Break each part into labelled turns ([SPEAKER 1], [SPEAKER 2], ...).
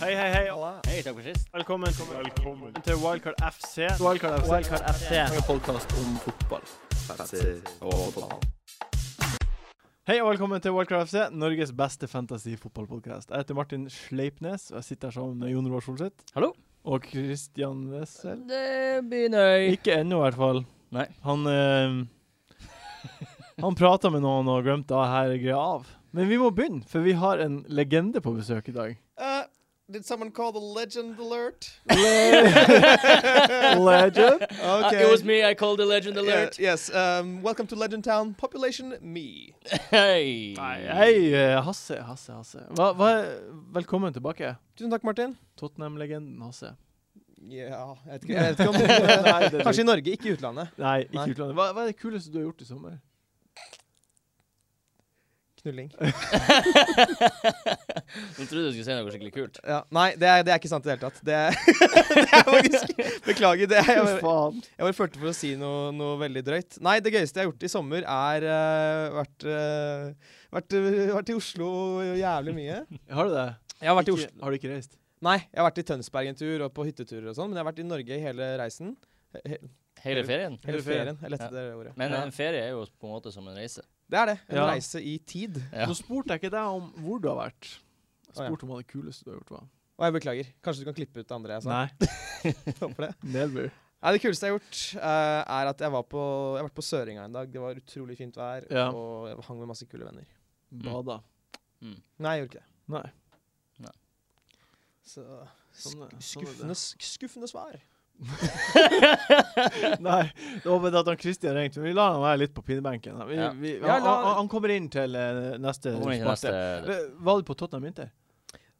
[SPEAKER 1] Hei, hei, hei.
[SPEAKER 2] Hei, takk for sist.
[SPEAKER 1] Velkommen, til Wildcard FC.
[SPEAKER 3] Wildcard FC.
[SPEAKER 2] Wildcard FC.
[SPEAKER 3] En podkast om fotball.
[SPEAKER 1] Hei og velkommen til Wildcard FC, Norges beste fantasy-fotballpodkast. Jeg heter Martin Sleipnes, og jeg sitter her sammen med Jon Roar Solseth.
[SPEAKER 2] Hallo.
[SPEAKER 1] Og Christian Wessel.
[SPEAKER 2] Det begynner
[SPEAKER 1] Ikke ennå, i hvert fall.
[SPEAKER 2] Nei.
[SPEAKER 1] Han eh, Han prata med noen og glemte hva her er greia av. Men vi må begynne, for vi har en legende på besøk i dag.
[SPEAKER 4] Uh, did someone call the legend alert?
[SPEAKER 1] Legend.
[SPEAKER 4] Uh, Okay.
[SPEAKER 2] Uh, It was me, I called the legend
[SPEAKER 4] Yeah,
[SPEAKER 2] alert.
[SPEAKER 4] yes. Um, welcome to Legend Town. Population me.
[SPEAKER 2] Hei.
[SPEAKER 1] Hei, eh, Hasse, Hasse, Hasse. Hva, hva, velkommen tilbake.
[SPEAKER 4] Tusen takk, Martin.
[SPEAKER 1] Tottenham-legenden Hasse.
[SPEAKER 4] Ja, jeg vet ikke, jeg vet ikke om
[SPEAKER 1] Nei, det er
[SPEAKER 4] Kanskje i Norge, ikke i utlandet.
[SPEAKER 1] Nei, ikke
[SPEAKER 4] Nei.
[SPEAKER 1] utlandet. Hva, hva er det kuleste du har gjort i sommer?
[SPEAKER 4] Knulling.
[SPEAKER 2] Nå trodde du skulle si noe skikkelig kult.
[SPEAKER 4] Ja, nei, det er, det er ikke sant i det hele tatt. Det er, det er faktisk Beklager. Det er, jeg, bare-
[SPEAKER 1] faen?
[SPEAKER 4] jeg bare følte for å si noe, noe veldig drøyt. Nei, det gøyeste jeg har gjort i sommer, er eh, vært, eh, vært, eh, vært i Oslo jævlig mye.
[SPEAKER 1] Har du det?
[SPEAKER 4] Jeg har vært i
[SPEAKER 1] Ikke-
[SPEAKER 4] Oslo
[SPEAKER 1] Har du ikke reist?
[SPEAKER 4] Nei, jeg har vært i Tønsberg en tur og på hytteturer og sånn, men jeg har vært i Norge i hele reisen. He
[SPEAKER 2] Hele ferien.
[SPEAKER 4] hele
[SPEAKER 1] Hele ferien.
[SPEAKER 4] ferien. Jeg lette det ordet.
[SPEAKER 2] Men
[SPEAKER 1] Ja. eh,
[SPEAKER 2] en ferie er jo på en måte som en reise.
[SPEAKER 4] Det er det. En
[SPEAKER 1] Ja.
[SPEAKER 4] reise i tid.
[SPEAKER 2] Ja.
[SPEAKER 1] Nå spurte jeg ikke deg om hvor du har vært. Jeg
[SPEAKER 4] Å, ja.
[SPEAKER 1] spurte om hva det kuleste du har gjort var.
[SPEAKER 4] Og jeg beklager. Kanskje du kan klippe ut det andre jeg sa?
[SPEAKER 1] Nei,
[SPEAKER 4] Håper det.
[SPEAKER 1] never.
[SPEAKER 4] Nei, det kuleste jeg har gjort, eh, er at jeg var på Jeg har vært på Søringa en dag. Det var utrolig fint vær,
[SPEAKER 1] Ja.
[SPEAKER 4] og jeg hang med masse kule venner.
[SPEAKER 1] Bada.
[SPEAKER 4] Nei, jeg gjorde ikke det.
[SPEAKER 1] Nei.
[SPEAKER 4] Så
[SPEAKER 1] Sånn er- sånn er
[SPEAKER 4] sk
[SPEAKER 1] det.
[SPEAKER 4] skuffende, sk- skuffende svar.
[SPEAKER 1] Nei, det var bare at han Christian ringte. men Vi lar han være litt på pinebenken. da. Vi,
[SPEAKER 2] Ja.
[SPEAKER 1] vi,
[SPEAKER 4] Ja,
[SPEAKER 1] han,
[SPEAKER 4] la-
[SPEAKER 1] han, han kommer inn til eh, neste
[SPEAKER 2] Nå kommer vi til
[SPEAKER 1] spalte.
[SPEAKER 2] neste.
[SPEAKER 1] Eh, Var du på Tottenham Inter?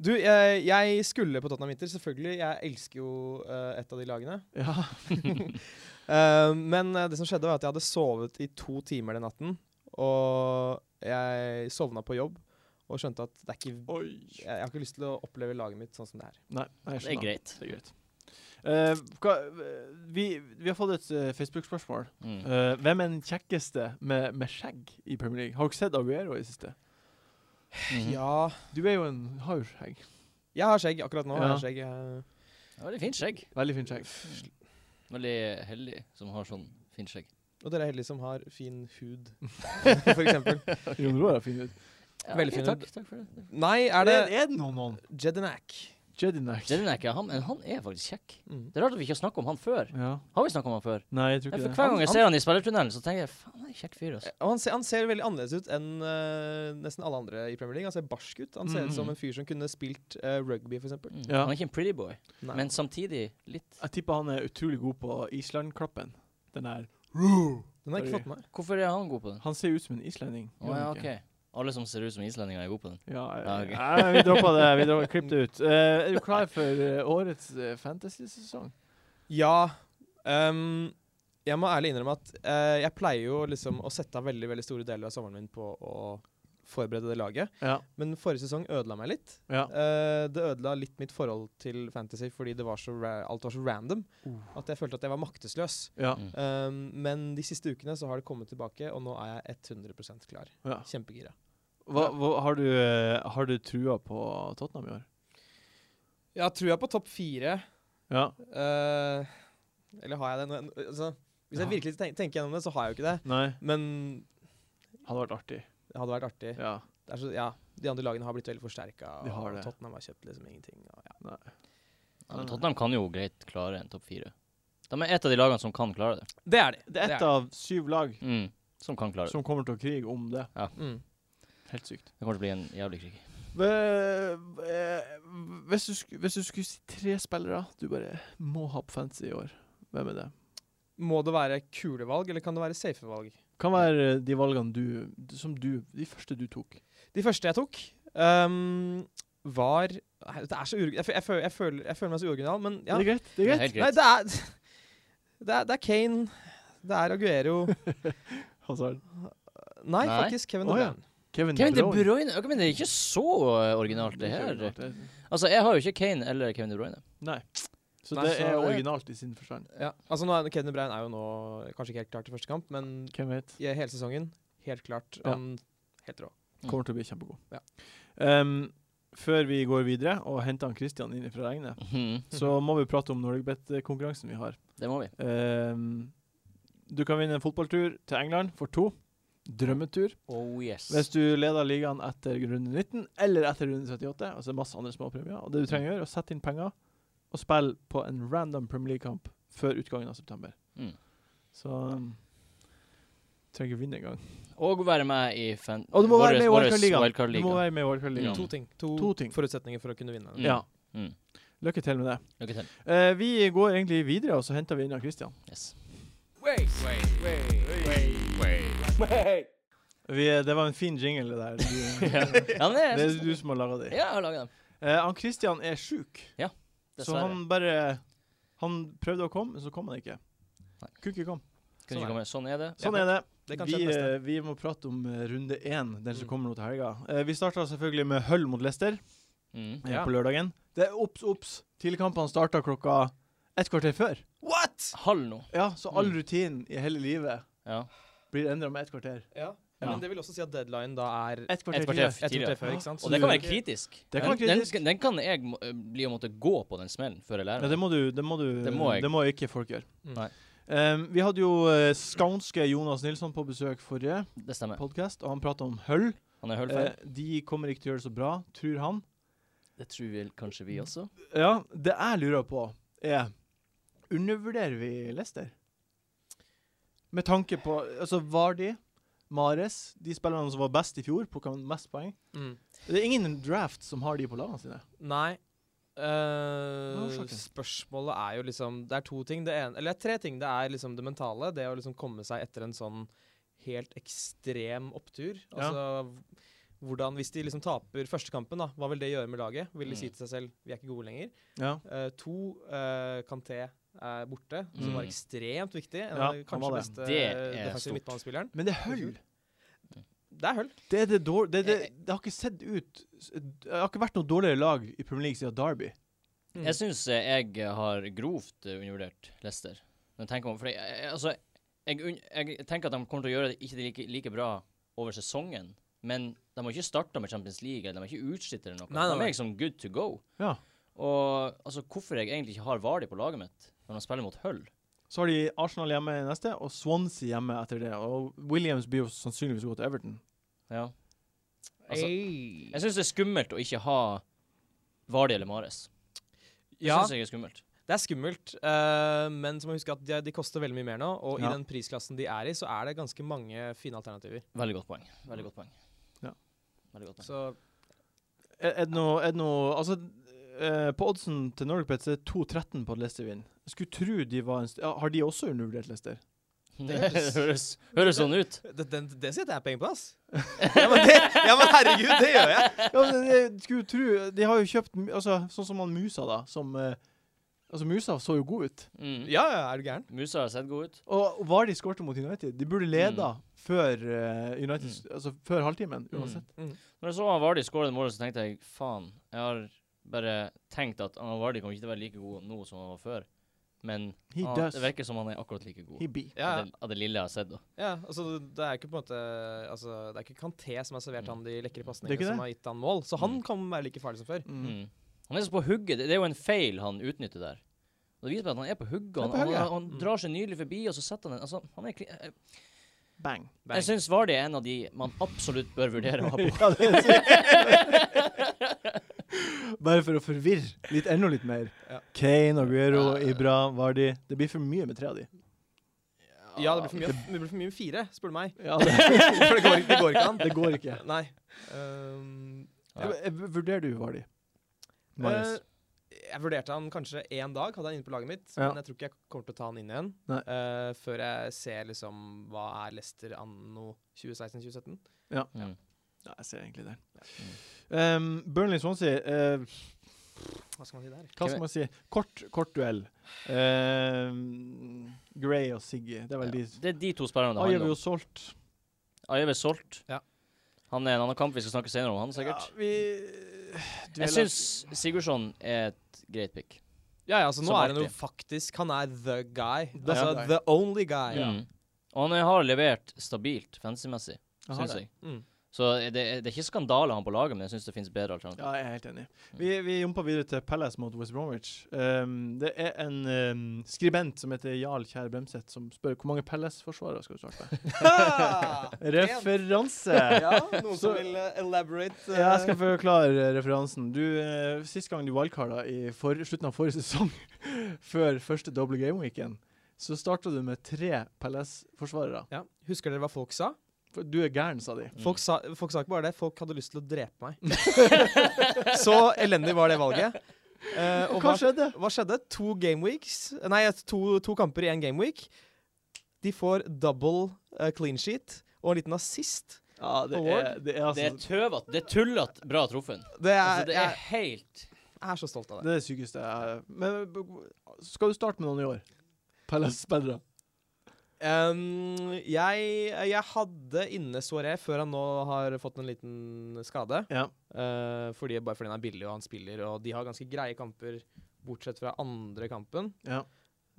[SPEAKER 4] Du, eh, jeg skulle på Tottenham Inter, selvfølgelig. Jeg elsker jo eh, et av de lagene.
[SPEAKER 1] Ja.
[SPEAKER 4] Eh, men eh, det som skjedde var at jeg hadde sovet i to timer den natten. Og jeg sovna på jobb og skjønte at det er ikke
[SPEAKER 1] Oi.
[SPEAKER 4] Jeg, jeg har ikke lyst til å oppleve laget mitt sånn som det er.
[SPEAKER 1] Nei, nei, jeg
[SPEAKER 2] Det er
[SPEAKER 1] skjønner.
[SPEAKER 2] greit.
[SPEAKER 1] Det er greit. Eh, hva, vi, vi har fått et eh, Facebook-spørsmål.
[SPEAKER 2] Mm.
[SPEAKER 1] Eh, hvem er den kjekkeste med, med skjegg i Premier League? Har dere sett Aguero i det siste?
[SPEAKER 2] Mhm.
[SPEAKER 4] Ja,
[SPEAKER 1] Du er jo en har jo skjegg.
[SPEAKER 4] jeg har skjegg akkurat nå.
[SPEAKER 1] Ja.
[SPEAKER 4] Jeg har skjegg. eh.
[SPEAKER 2] Det var Veldig fint skjegg.
[SPEAKER 1] Veldig fint skjegg.
[SPEAKER 2] Veldig heldig som har sånn fint skjegg.
[SPEAKER 4] Og dere er heldige som har fin hud, for eksempel.
[SPEAKER 1] Jon Roar er fin ut.
[SPEAKER 2] Ja,
[SPEAKER 4] Veldig
[SPEAKER 2] ok,
[SPEAKER 4] fin
[SPEAKER 2] Takk, takk for det.
[SPEAKER 4] Nei, er det
[SPEAKER 1] er det noen noen?
[SPEAKER 4] Jedinak?
[SPEAKER 1] Jedinak.
[SPEAKER 2] Jelen er ikke han, men han er faktisk kjekk.
[SPEAKER 4] Mm.
[SPEAKER 2] Det er rart at vi ikke har snakket om han før.
[SPEAKER 1] Ja.
[SPEAKER 2] Har vi snakket om han før?
[SPEAKER 1] Nei, jeg tror
[SPEAKER 2] Ja,
[SPEAKER 1] ikke
[SPEAKER 2] for
[SPEAKER 1] det.
[SPEAKER 2] hver gang jeg
[SPEAKER 4] Han-
[SPEAKER 2] ser han i spillertunnelen, så tenker jeg faen, han er en kjekk fyr, altså.
[SPEAKER 4] Og han, ser, han ser veldig annerledes ut enn eh, nesten alle andre i Premier League. Han ser barsk ut. Han ser ut som
[SPEAKER 2] Mhm.
[SPEAKER 4] en fyr som kunne spilt eh, rugby, for eksempel.
[SPEAKER 2] Mm.
[SPEAKER 1] Ja.
[SPEAKER 2] Han er ikke en pretty boy,
[SPEAKER 4] Nei.
[SPEAKER 2] men samtidig litt
[SPEAKER 1] Jeg tipper han er utrolig god på Island-klappen. Den der
[SPEAKER 4] Den har jeg
[SPEAKER 1] Sorry.
[SPEAKER 4] ikke fått med meg.
[SPEAKER 2] Hvorfor er han god på den?
[SPEAKER 1] Han ser ut som en islending.
[SPEAKER 2] Å
[SPEAKER 1] gjør
[SPEAKER 2] ja,
[SPEAKER 1] han
[SPEAKER 2] OK.
[SPEAKER 1] ikke?
[SPEAKER 2] Alle som ser ut som islendinger, er gode på den.
[SPEAKER 1] Ja, eh,
[SPEAKER 2] Ja, ok.
[SPEAKER 1] Nei, vi droppa det. Vi droppa, Klipp det ut. Eh, er du klar for eh, årets eh, fantasy-sesong?
[SPEAKER 4] Ja. ehm, jeg må ærlig innrømme at eh, jeg pleier jo liksom å sette av veldig, veldig store deler av sommeren min på å forberede det laget.
[SPEAKER 1] Ja.
[SPEAKER 4] Men forrige sesong ødela meg litt.
[SPEAKER 1] ja.
[SPEAKER 4] Eh, det ødela litt mitt forhold til fantasy fordi det var så ra alt var så random.
[SPEAKER 1] Uh.
[SPEAKER 4] At jeg følte at jeg var maktesløs.
[SPEAKER 1] Ja.
[SPEAKER 2] Mm.
[SPEAKER 4] Um, men de siste ukene så har det kommet tilbake, og nå er jeg 100 klar.
[SPEAKER 1] ja.
[SPEAKER 4] Kjempegira.
[SPEAKER 1] Hva, hva, har, du, eh, har du trua på Tottenham i år?
[SPEAKER 4] Jeg har trua på topp fire.
[SPEAKER 1] Ja.
[SPEAKER 4] Eh, eller har jeg det? Nå- Altså, hvis jeg
[SPEAKER 1] Ja.
[SPEAKER 4] virkelig ten tenker gjennom det, så har jeg jo ikke det.
[SPEAKER 1] Nei?
[SPEAKER 4] Men
[SPEAKER 1] Hadde vært artig.
[SPEAKER 4] det hadde vært artig.
[SPEAKER 1] Ja.
[SPEAKER 4] Det er så, ja, de andre lagene har blitt veldig forsterka.
[SPEAKER 1] De har det.
[SPEAKER 4] Tottenham har kjøpt liksom ingenting. Og, ja.
[SPEAKER 2] Ja, men Tottenham kan jo greit klare en topp fire. De er et av de lagene som kan klare det.
[SPEAKER 4] Det er de.
[SPEAKER 1] Det er ett av syv lag
[SPEAKER 2] Mm. Som kan klare det.
[SPEAKER 1] som kommer til å krige om det.
[SPEAKER 4] Mm.
[SPEAKER 1] Helt sykt.
[SPEAKER 2] Det kommer til å bli en jævlig krig.
[SPEAKER 1] eh, Hvis du, sku- hvis du skulle si tre spillere du bare må ha på fantasy i år, hvem er det?
[SPEAKER 4] Må det være kule valg, eller kan det være safe valg?
[SPEAKER 1] Kan være eh, de valgene du Som du De første du tok.
[SPEAKER 4] De første jeg tok, ehm, var Nei, Det er så urig... Jeg, fø- jeg, føl- jeg, føler, jeg føler meg så uoriginal, men ja.
[SPEAKER 1] Er det greit? Det
[SPEAKER 2] Det
[SPEAKER 1] er
[SPEAKER 2] er
[SPEAKER 1] greit.
[SPEAKER 2] helt
[SPEAKER 4] Nei,
[SPEAKER 2] greit.
[SPEAKER 4] det er, det er Det er Kane. Det er Aguero.
[SPEAKER 1] Hazard.
[SPEAKER 2] Nei.
[SPEAKER 4] Nei, faktisk Kevin
[SPEAKER 1] Å,
[SPEAKER 4] De
[SPEAKER 1] ja.
[SPEAKER 4] Bruyne.
[SPEAKER 1] Kevin,
[SPEAKER 2] Kevin De Bruyne Ok, Men det er ikke så eh, originalt, det her. Altså, jeg har jo ikke Kane eller Kevin De Bruyne.
[SPEAKER 1] Nei. Så
[SPEAKER 4] Nei,
[SPEAKER 1] det
[SPEAKER 4] så
[SPEAKER 1] er
[SPEAKER 4] det-
[SPEAKER 1] originalt i sin forstand.
[SPEAKER 4] Ja. Altså, nå er, Kevin De Bruyne er jo nå kanskje ikke helt klar til første kamp, men
[SPEAKER 1] Hvem vet?
[SPEAKER 4] i hele sesongen helt klart.
[SPEAKER 1] Ja.
[SPEAKER 4] Han helt rå.
[SPEAKER 1] Mm. Kommer til å bli kjempegod.
[SPEAKER 4] Ja.
[SPEAKER 1] Um, før vi går videre og henter han Christian inn fra regnet,
[SPEAKER 2] Mhm.
[SPEAKER 1] så må vi prate om Norwegbet-konkurransen vi har.
[SPEAKER 2] Det må vi.
[SPEAKER 1] Ehm, du kan vinne en fotballtur til England for to. Drømmetur.
[SPEAKER 2] Oh yes.
[SPEAKER 1] Hvis du leder ligaen etter runde 19 eller etter runde 78, altså masse andre småpremier, og det du trenger å gjøre, er å sette inn penger og spille på en random Premier League-kamp før utgangen av september.
[SPEAKER 2] Mm.
[SPEAKER 1] Så um, trenger ikke vinne engang.
[SPEAKER 2] Og være med i fan...
[SPEAKER 1] Og du må være
[SPEAKER 2] våres-
[SPEAKER 1] med i
[SPEAKER 2] våres
[SPEAKER 1] Wildcard-ligaen. Mm. Du
[SPEAKER 2] wildcard-liga.
[SPEAKER 1] må være med i Wildcard-ligaen.
[SPEAKER 4] To ting. To,
[SPEAKER 1] To ting.
[SPEAKER 4] forutsetninger for å kunne vinne.
[SPEAKER 2] Mm.
[SPEAKER 1] Ja.
[SPEAKER 2] Mm.
[SPEAKER 1] Lykke til med det.
[SPEAKER 2] Lykke til.
[SPEAKER 1] Eh, vi går egentlig videre, og så henter vi inn Christian.
[SPEAKER 2] Yes.
[SPEAKER 1] Vi, det var en fin jingle, det der. Du,
[SPEAKER 2] Ja, men jeg
[SPEAKER 1] det er
[SPEAKER 2] synes-
[SPEAKER 1] du som har laga det.
[SPEAKER 2] Ja, jeg har laget dem.
[SPEAKER 1] Eh, han Christian er sjuk. Så
[SPEAKER 2] Dessverre.
[SPEAKER 1] han bare Han prøvde å komme, men så kom han ikke.
[SPEAKER 2] Nei.
[SPEAKER 1] Kunne ikke komme.
[SPEAKER 2] Kunne ikke komme. Sånn er det.
[SPEAKER 1] Sånn er det.
[SPEAKER 4] Det kan
[SPEAKER 1] vi,
[SPEAKER 4] skje neste.
[SPEAKER 1] eh, vi må prate om eh, runde én, den som
[SPEAKER 4] Mm.
[SPEAKER 1] kommer nå til helga. Eh, vi starta selvfølgelig med Hull mot Leicester
[SPEAKER 2] Mm.
[SPEAKER 1] eh,
[SPEAKER 4] Ja.
[SPEAKER 1] på lørdagen. Det er obs, obs! Tidligkampene starta klokka ett kvarter før.
[SPEAKER 4] What?!
[SPEAKER 2] Halv nå.
[SPEAKER 1] Ja, så all
[SPEAKER 2] Mm.
[SPEAKER 1] rutinen i hele livet
[SPEAKER 2] Ja.
[SPEAKER 1] blir endra med ett kvarter.
[SPEAKER 4] Ja.
[SPEAKER 1] Ja.
[SPEAKER 4] Men det vil også si at deadline da er
[SPEAKER 1] Ett kvarter,
[SPEAKER 2] Et kvarter
[SPEAKER 1] tidligere.
[SPEAKER 4] et
[SPEAKER 2] tidligere.
[SPEAKER 4] kvarter før, ikke sant?
[SPEAKER 2] Og det kan være kritisk.
[SPEAKER 1] Det kan være
[SPEAKER 2] Den-
[SPEAKER 1] kritisk.
[SPEAKER 2] Den, den kan jeg må, bli å måtte gå på den smellen før jeg
[SPEAKER 1] Ja,
[SPEAKER 2] lærer meg.
[SPEAKER 1] det må du Det må, du,
[SPEAKER 2] Det må jeg.
[SPEAKER 1] ikke folk gjøre.
[SPEAKER 4] Mm.
[SPEAKER 2] Nei.
[SPEAKER 1] Ehm, vi hadde jo eh, skaunske Jonas Nilsson på besøk forrige
[SPEAKER 2] Det stemmer.
[SPEAKER 1] podkast, og han prata om Hull.
[SPEAKER 2] Han er høllfeil.
[SPEAKER 1] Eh, de kommer ikke til å gjøre det så bra, tror han.
[SPEAKER 2] Det tror vel kanskje vi også.
[SPEAKER 1] Ja, det jeg lurer på er Undervurderer vi Leicester? Med tanke på Altså, Vardy, Mares, de spillerne som var best i fjor, plukka mest poeng.
[SPEAKER 4] Mm.
[SPEAKER 1] Det er ingen draft som har de på lagene sine.
[SPEAKER 4] Nei. Eh,
[SPEAKER 1] Hva er årsaken?
[SPEAKER 4] spørsmålet er jo liksom Det er to ting. Det ene, eller det er tre ting. Det er liksom det mentale. Det å liksom komme seg etter en sånn helt ekstrem opptur.
[SPEAKER 1] Ja.
[SPEAKER 4] Altså hvordan, Hvis de liksom taper første kampen, da, hva vil det gjøre med laget? Vil de si
[SPEAKER 2] Mm.
[SPEAKER 4] til seg selv vi er ikke gode lenger?
[SPEAKER 1] Ja,
[SPEAKER 4] Eh, to, uh, Kanté er borte, som
[SPEAKER 2] Mm.
[SPEAKER 4] var ekstremt viktig. En
[SPEAKER 1] Ja,
[SPEAKER 4] av
[SPEAKER 1] han
[SPEAKER 4] de kanskje
[SPEAKER 1] var det.
[SPEAKER 4] beste
[SPEAKER 2] Det
[SPEAKER 4] eh,
[SPEAKER 2] er
[SPEAKER 4] defensive
[SPEAKER 2] stort.
[SPEAKER 4] midtbanespilleren.
[SPEAKER 1] Men det er Hull.
[SPEAKER 4] Det er hull.
[SPEAKER 1] Det er det dår- det,
[SPEAKER 4] Eh,
[SPEAKER 1] det, det har ikke sett ut Det har ikke vært noe dårligere lag i Premier League siden Derby.
[SPEAKER 4] Mm.
[SPEAKER 2] Jeg syns jeg har grovt eh, undervurdert Leicester. Når jeg tenker om, fordi, jeg, altså, jeg, unn- jeg tenker at de kommer til å gjøre det ikke like, like bra over sesongen. Men de har ikke starta med Champions League, eller de har ikke utslitt eller noe.
[SPEAKER 4] Nei, nei,
[SPEAKER 2] de
[SPEAKER 4] nei.
[SPEAKER 2] er liksom good to go.
[SPEAKER 1] Ja.
[SPEAKER 2] Og altså, hvorfor jeg egentlig ikke har Vardy på laget mitt når de spiller mot Hull
[SPEAKER 1] Så har de Arsenal hjemme i neste, og Swansea hjemme etter det. Og Williams blir jo sannsynligvis god til Everton.
[SPEAKER 2] ja. altså, Jeg syns det er skummelt å ikke ha Vardy eller Mares. Det
[SPEAKER 4] ja,
[SPEAKER 2] syns jeg er skummelt.
[SPEAKER 4] det er skummelt, eh, men så må vi huske at de, de koster veldig mye mer nå. Og
[SPEAKER 1] Ja.
[SPEAKER 4] i den prisklassen de er i, så er det ganske mange fine alternativer.
[SPEAKER 2] Veldig godt poeng. Veldig godt poeng.
[SPEAKER 1] Ja.
[SPEAKER 2] Veldig godt poeng.
[SPEAKER 4] Så
[SPEAKER 1] Er er det noe, er det noe Altså, eh, på oddsen til Norwegian er det 2-13 på at Leicester vinner. Jeg skulle tro de var en st ja, Har de også undervurdert Leicester?
[SPEAKER 2] Det høres, høres sånn ut.
[SPEAKER 4] det, det, det setter jeg penger på, ass. ja, men det, ja, men herregud, det gjør jeg!
[SPEAKER 1] Ja, men jeg skulle tro De har jo kjøpt m- altså, Sånn som han Musa, da, som eh, Altså, Musa så jo god ut.
[SPEAKER 2] Mm.
[SPEAKER 4] Ja, ja, er du gæren?
[SPEAKER 2] Musa har sett god ut.
[SPEAKER 1] Og var de skårte mot United? De burde leda før eh, United Altså før halvtimen, uansett.
[SPEAKER 4] Mm. Mm.
[SPEAKER 2] Når jeg så han Vardi skåre den målet, så tenkte jeg faen, jeg har bare tenkt at han Vardi kommer ikke til å være like god nå som han var før. Men
[SPEAKER 1] He
[SPEAKER 2] han,
[SPEAKER 1] does.
[SPEAKER 2] det virker som han er akkurat like god.
[SPEAKER 1] He be.
[SPEAKER 4] Ja,
[SPEAKER 2] Av, det, av det lille jeg har sett, da.
[SPEAKER 4] ja, altså det er ikke på en måte altså, Det er ikke Kanté som har servert
[SPEAKER 2] Mm.
[SPEAKER 4] han de
[SPEAKER 1] Det er
[SPEAKER 4] lekre
[SPEAKER 1] ikke
[SPEAKER 4] pasningene som har gitt han mål, så han
[SPEAKER 2] Mm.
[SPEAKER 4] kan være like farlig som før.
[SPEAKER 1] Mm.
[SPEAKER 2] Mm. Han er så på hugget. Det, det er jo en feil han utnytter der. Og Det viser meg at han er på hugget.
[SPEAKER 1] Han er
[SPEAKER 2] Han,
[SPEAKER 1] på
[SPEAKER 2] han,
[SPEAKER 1] hugget.
[SPEAKER 2] han,
[SPEAKER 4] Mm.
[SPEAKER 2] drar seg nylig forbi, og så setter han en altså, han er, kli- jeg,
[SPEAKER 1] Bang.
[SPEAKER 4] Bang.
[SPEAKER 2] jeg syns Vardi er en av de man absolutt bør vurdere å ha på.
[SPEAKER 1] Ja, det er sykt. Bare for å forvirre litt enda litt mer.
[SPEAKER 4] Ja.
[SPEAKER 1] Kane, Aguero, Ibra, Vardi Det blir for mye med tre av de.
[SPEAKER 4] Ja, det blir for mye, det blir for mye med fire, spør du meg.
[SPEAKER 1] Ja, det,
[SPEAKER 4] For det går, ikke- det går ikke an.
[SPEAKER 1] det går ikke.
[SPEAKER 4] Nei. Ehm,
[SPEAKER 2] Ja.
[SPEAKER 1] Jeg- jeg Vurderer du Vardi? Marius?
[SPEAKER 4] eh, jeg vurderte han kanskje én dag, hadde han inne på laget mitt.
[SPEAKER 1] Ja.
[SPEAKER 4] Men jeg tror ikke jeg kommer til å ta han inn igjen
[SPEAKER 1] Nei.
[SPEAKER 4] eh, før jeg ser liksom hva er Leicester anno 2016-2017.
[SPEAKER 2] Mm.
[SPEAKER 1] Ja, jeg ser egentlig det. Um, Burnley Swansea, eh,
[SPEAKER 4] Hva skal man si der?
[SPEAKER 1] hva skal man si? Kort, kort duell. Um, Gray og Siggy, det er vel de
[SPEAKER 2] Det er de to spillerne det
[SPEAKER 1] Ajev er
[SPEAKER 2] handler
[SPEAKER 1] jo
[SPEAKER 2] om.
[SPEAKER 1] solgt.
[SPEAKER 2] Ajev er solgt.
[SPEAKER 4] Ja.
[SPEAKER 2] Han er en annen kamp vi skal snakke senere om, han sikkert.
[SPEAKER 1] Ja, vi
[SPEAKER 2] Jeg syns Sigurdsson er et greit pick.
[SPEAKER 4] Ja, ja, altså nå
[SPEAKER 2] Som
[SPEAKER 4] er han jo faktisk Han er the guy.
[SPEAKER 1] The
[SPEAKER 4] altså
[SPEAKER 1] guy.
[SPEAKER 4] the only guy.
[SPEAKER 2] Mm. Og han har levert stabilt fancy-messig,
[SPEAKER 1] Aha,
[SPEAKER 2] syns
[SPEAKER 1] det.
[SPEAKER 2] jeg.
[SPEAKER 4] Mm.
[SPEAKER 2] Så det, det er ikke skandaler han på laget, men jeg syns det finnes bedre alternativer.
[SPEAKER 1] Ja, jeg er helt enig. Vi, vi jumper videre til Palace mot West Bromwich. Um, det er en um, skribent som heter Jarl Kjær Bremseth, som spør hvor mange Palace-forsvarere skal du starte med? Referanse!
[SPEAKER 4] Ja, noen som
[SPEAKER 1] Så-
[SPEAKER 4] vil eh, elaborate? eh,
[SPEAKER 1] Ja, jeg skal forklare eh, referansen. Du, eh, Sist gang du wildcarda i for, slutten av forrige sesong, før første double game-weekend, så starta du med tre Palace-forsvarere.
[SPEAKER 4] ja. Husker dere hva folk sa?
[SPEAKER 1] For Du er gæren, sa de.
[SPEAKER 4] Folk
[SPEAKER 2] Mm.
[SPEAKER 4] sa, folk sa ikke bare det, folk hadde lyst til å drepe meg. Så elendig var det valget. Eh, og
[SPEAKER 1] Og
[SPEAKER 4] hva,
[SPEAKER 1] hva skjedde?
[SPEAKER 4] hva skjedde? To game weeks Nei, to, to kamper i én game week. De får double eh, clean sheet og en liten assist.
[SPEAKER 1] Ja, det
[SPEAKER 4] Award?
[SPEAKER 1] er, det er
[SPEAKER 2] Det er
[SPEAKER 1] altså
[SPEAKER 2] tøvete. Det er tullete bra truffen.
[SPEAKER 4] Det er,
[SPEAKER 2] Altså, det er
[SPEAKER 4] jeg,
[SPEAKER 2] helt
[SPEAKER 4] jeg er så stolt av det.
[SPEAKER 1] det er det sykeste jeg Men b- b- skal du starte med noen i år? Palace-spillere.
[SPEAKER 4] Ehm, jeg, jeg hadde inne Soiré før han nå har fått en liten skade.
[SPEAKER 1] Ja.
[SPEAKER 4] Eh, fordi, bare fordi han er billig og han spiller, og de har ganske greie kamper, bortsett fra andre kampen.
[SPEAKER 1] Ja.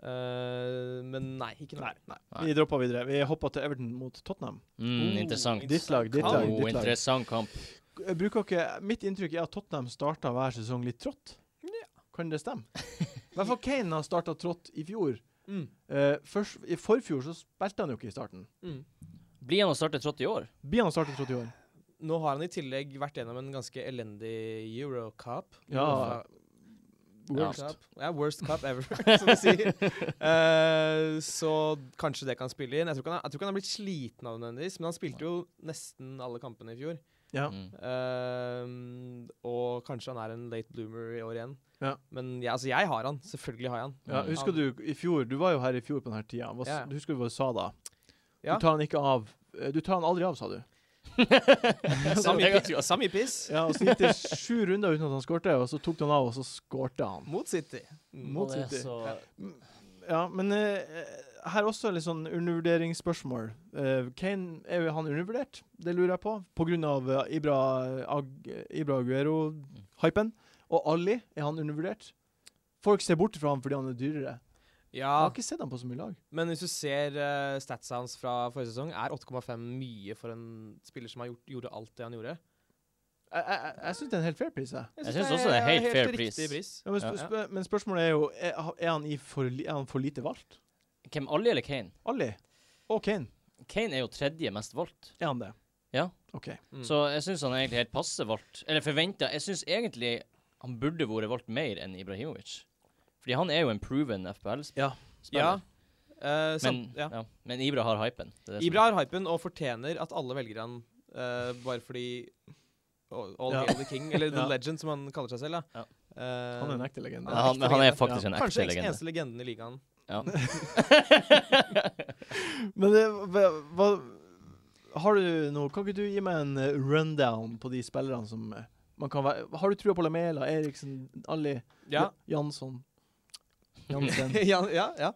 [SPEAKER 4] Eh, men nei, ikke noe.
[SPEAKER 1] Nei, Vi dropper videre. Vi hopper til Everton mot Tottenham.
[SPEAKER 2] mm,
[SPEAKER 4] Oh,
[SPEAKER 2] Interessant.
[SPEAKER 1] Ditt lag, ditt lag.
[SPEAKER 2] Oh,
[SPEAKER 1] ditt lag.
[SPEAKER 2] interessant kamp.
[SPEAKER 1] Jeg Eh, Bruker ikke, mitt inntrykk er at Tottenham starta hver sesong litt trått. Kan det stemme? I hvert fall Kane har starta trått i fjor.
[SPEAKER 4] Mm.
[SPEAKER 1] Eh, først, I forfjor så spilte han jo ikke i starten.
[SPEAKER 4] Mm.
[SPEAKER 2] Blir han å starte trått i år?
[SPEAKER 1] Blir han startet trått i år?
[SPEAKER 4] Nå har han i tillegg vært gjennom en ganske elendig Eurocup.
[SPEAKER 1] Ja,
[SPEAKER 4] Eurofa-
[SPEAKER 1] Worst.
[SPEAKER 4] Cup. Ja, worst cup ever, som de sier. Eh, så kanskje det kan spille inn. Jeg tror ikke han, er- jeg tror ikke han har blitt sliten av det nødvendigvis, men han spilte jo nesten alle kampene i fjor.
[SPEAKER 1] Ja.
[SPEAKER 2] Mm.
[SPEAKER 4] Ehm, og kanskje han er en late bloomer i år igjen.
[SPEAKER 1] Ja.
[SPEAKER 4] Men jeg- altså, jeg har han. Selvfølgelig har jeg han.
[SPEAKER 2] Mm.
[SPEAKER 1] Ja, husker du i fjor, du var jo her i fjor på denne tida. Hva, s-
[SPEAKER 4] Ja, ja.
[SPEAKER 1] Du husker hva du sa da?
[SPEAKER 4] Ja.
[SPEAKER 1] Du tar han ikke av. Eh, Du tar han aldri av, sa du.
[SPEAKER 4] Sami, pi- Sami Piss
[SPEAKER 1] Ja, og Så gikk det sju runder uten at han skårte, og så tok du han av, og så skårte han.
[SPEAKER 4] mot City.
[SPEAKER 1] Mot
[SPEAKER 2] Og det er
[SPEAKER 1] City.
[SPEAKER 2] så-
[SPEAKER 1] Ja, men eh, her også litt sånn undervurderingsspørsmål. Eh, Kane, er jo han undervurdert? Det lurer jeg på. På grunn av eh, Ibra, Ag, Ibra Aguero-hypen. Og Ali, er han undervurdert? Folk ser bort fra ham fordi han er dyrere. Jeg
[SPEAKER 2] Ah.
[SPEAKER 4] Ja,
[SPEAKER 1] har ikke sett ham på så mye lag.
[SPEAKER 4] men hvis du ser uh, statsa hans fra forrige sesong, er 8,5 mye for en spiller som har gjort, gjorde alt det han gjorde.
[SPEAKER 1] Jeg, jeg, jeg- jeg syns det er en helt fair pris, jeg.
[SPEAKER 2] Jeg synes også det er helt fair pris.
[SPEAKER 4] riktig pris.
[SPEAKER 1] Ja, men,
[SPEAKER 2] Ja.
[SPEAKER 1] sp sp men spørsmålet er jo er, er, han i for, li- er han for lite valgt?
[SPEAKER 2] Hvem Ali eller Kane?
[SPEAKER 1] Ali og Kane,
[SPEAKER 2] Kane er jo tredje mest valgt.
[SPEAKER 1] er han det?
[SPEAKER 2] Ja.
[SPEAKER 1] OK.
[SPEAKER 4] Mm.
[SPEAKER 2] Så jeg syns han er egentlig helt passe valgt. Eller forventa. Jeg syns egentlig han burde vært valgt mer enn Ibrahimovic. Fordi han er jo en proven
[SPEAKER 1] Ja.
[SPEAKER 2] FBL-spiller.
[SPEAKER 4] Ja. eh,
[SPEAKER 2] Men,
[SPEAKER 4] samt, ja.
[SPEAKER 2] ja. men Ibra har hypen. Det er det som-
[SPEAKER 4] Ibra har hypen og fortjener at alle velger han eh, bare fordi All all
[SPEAKER 1] Ja.
[SPEAKER 4] hail the king, eller the
[SPEAKER 1] Ja.
[SPEAKER 4] legend, som han kaller seg selv.
[SPEAKER 2] Ja.
[SPEAKER 4] Da. Eh,
[SPEAKER 1] Han er en ekte legende.
[SPEAKER 2] Ja, han, men han er faktisk en
[SPEAKER 4] Kanskje
[SPEAKER 2] ekte
[SPEAKER 4] den
[SPEAKER 2] legende.
[SPEAKER 4] eneste legenden i ligaen.
[SPEAKER 2] Ja.
[SPEAKER 1] Men det, hva, hva Har du noe Kan ikke du gi meg en eh, rundown på de spillerne som eh, man kan være Har du trua på Lamela, Eriksen, Ali,
[SPEAKER 4] Ja,
[SPEAKER 1] Jansson? Jansen.
[SPEAKER 4] ja, ja. ja.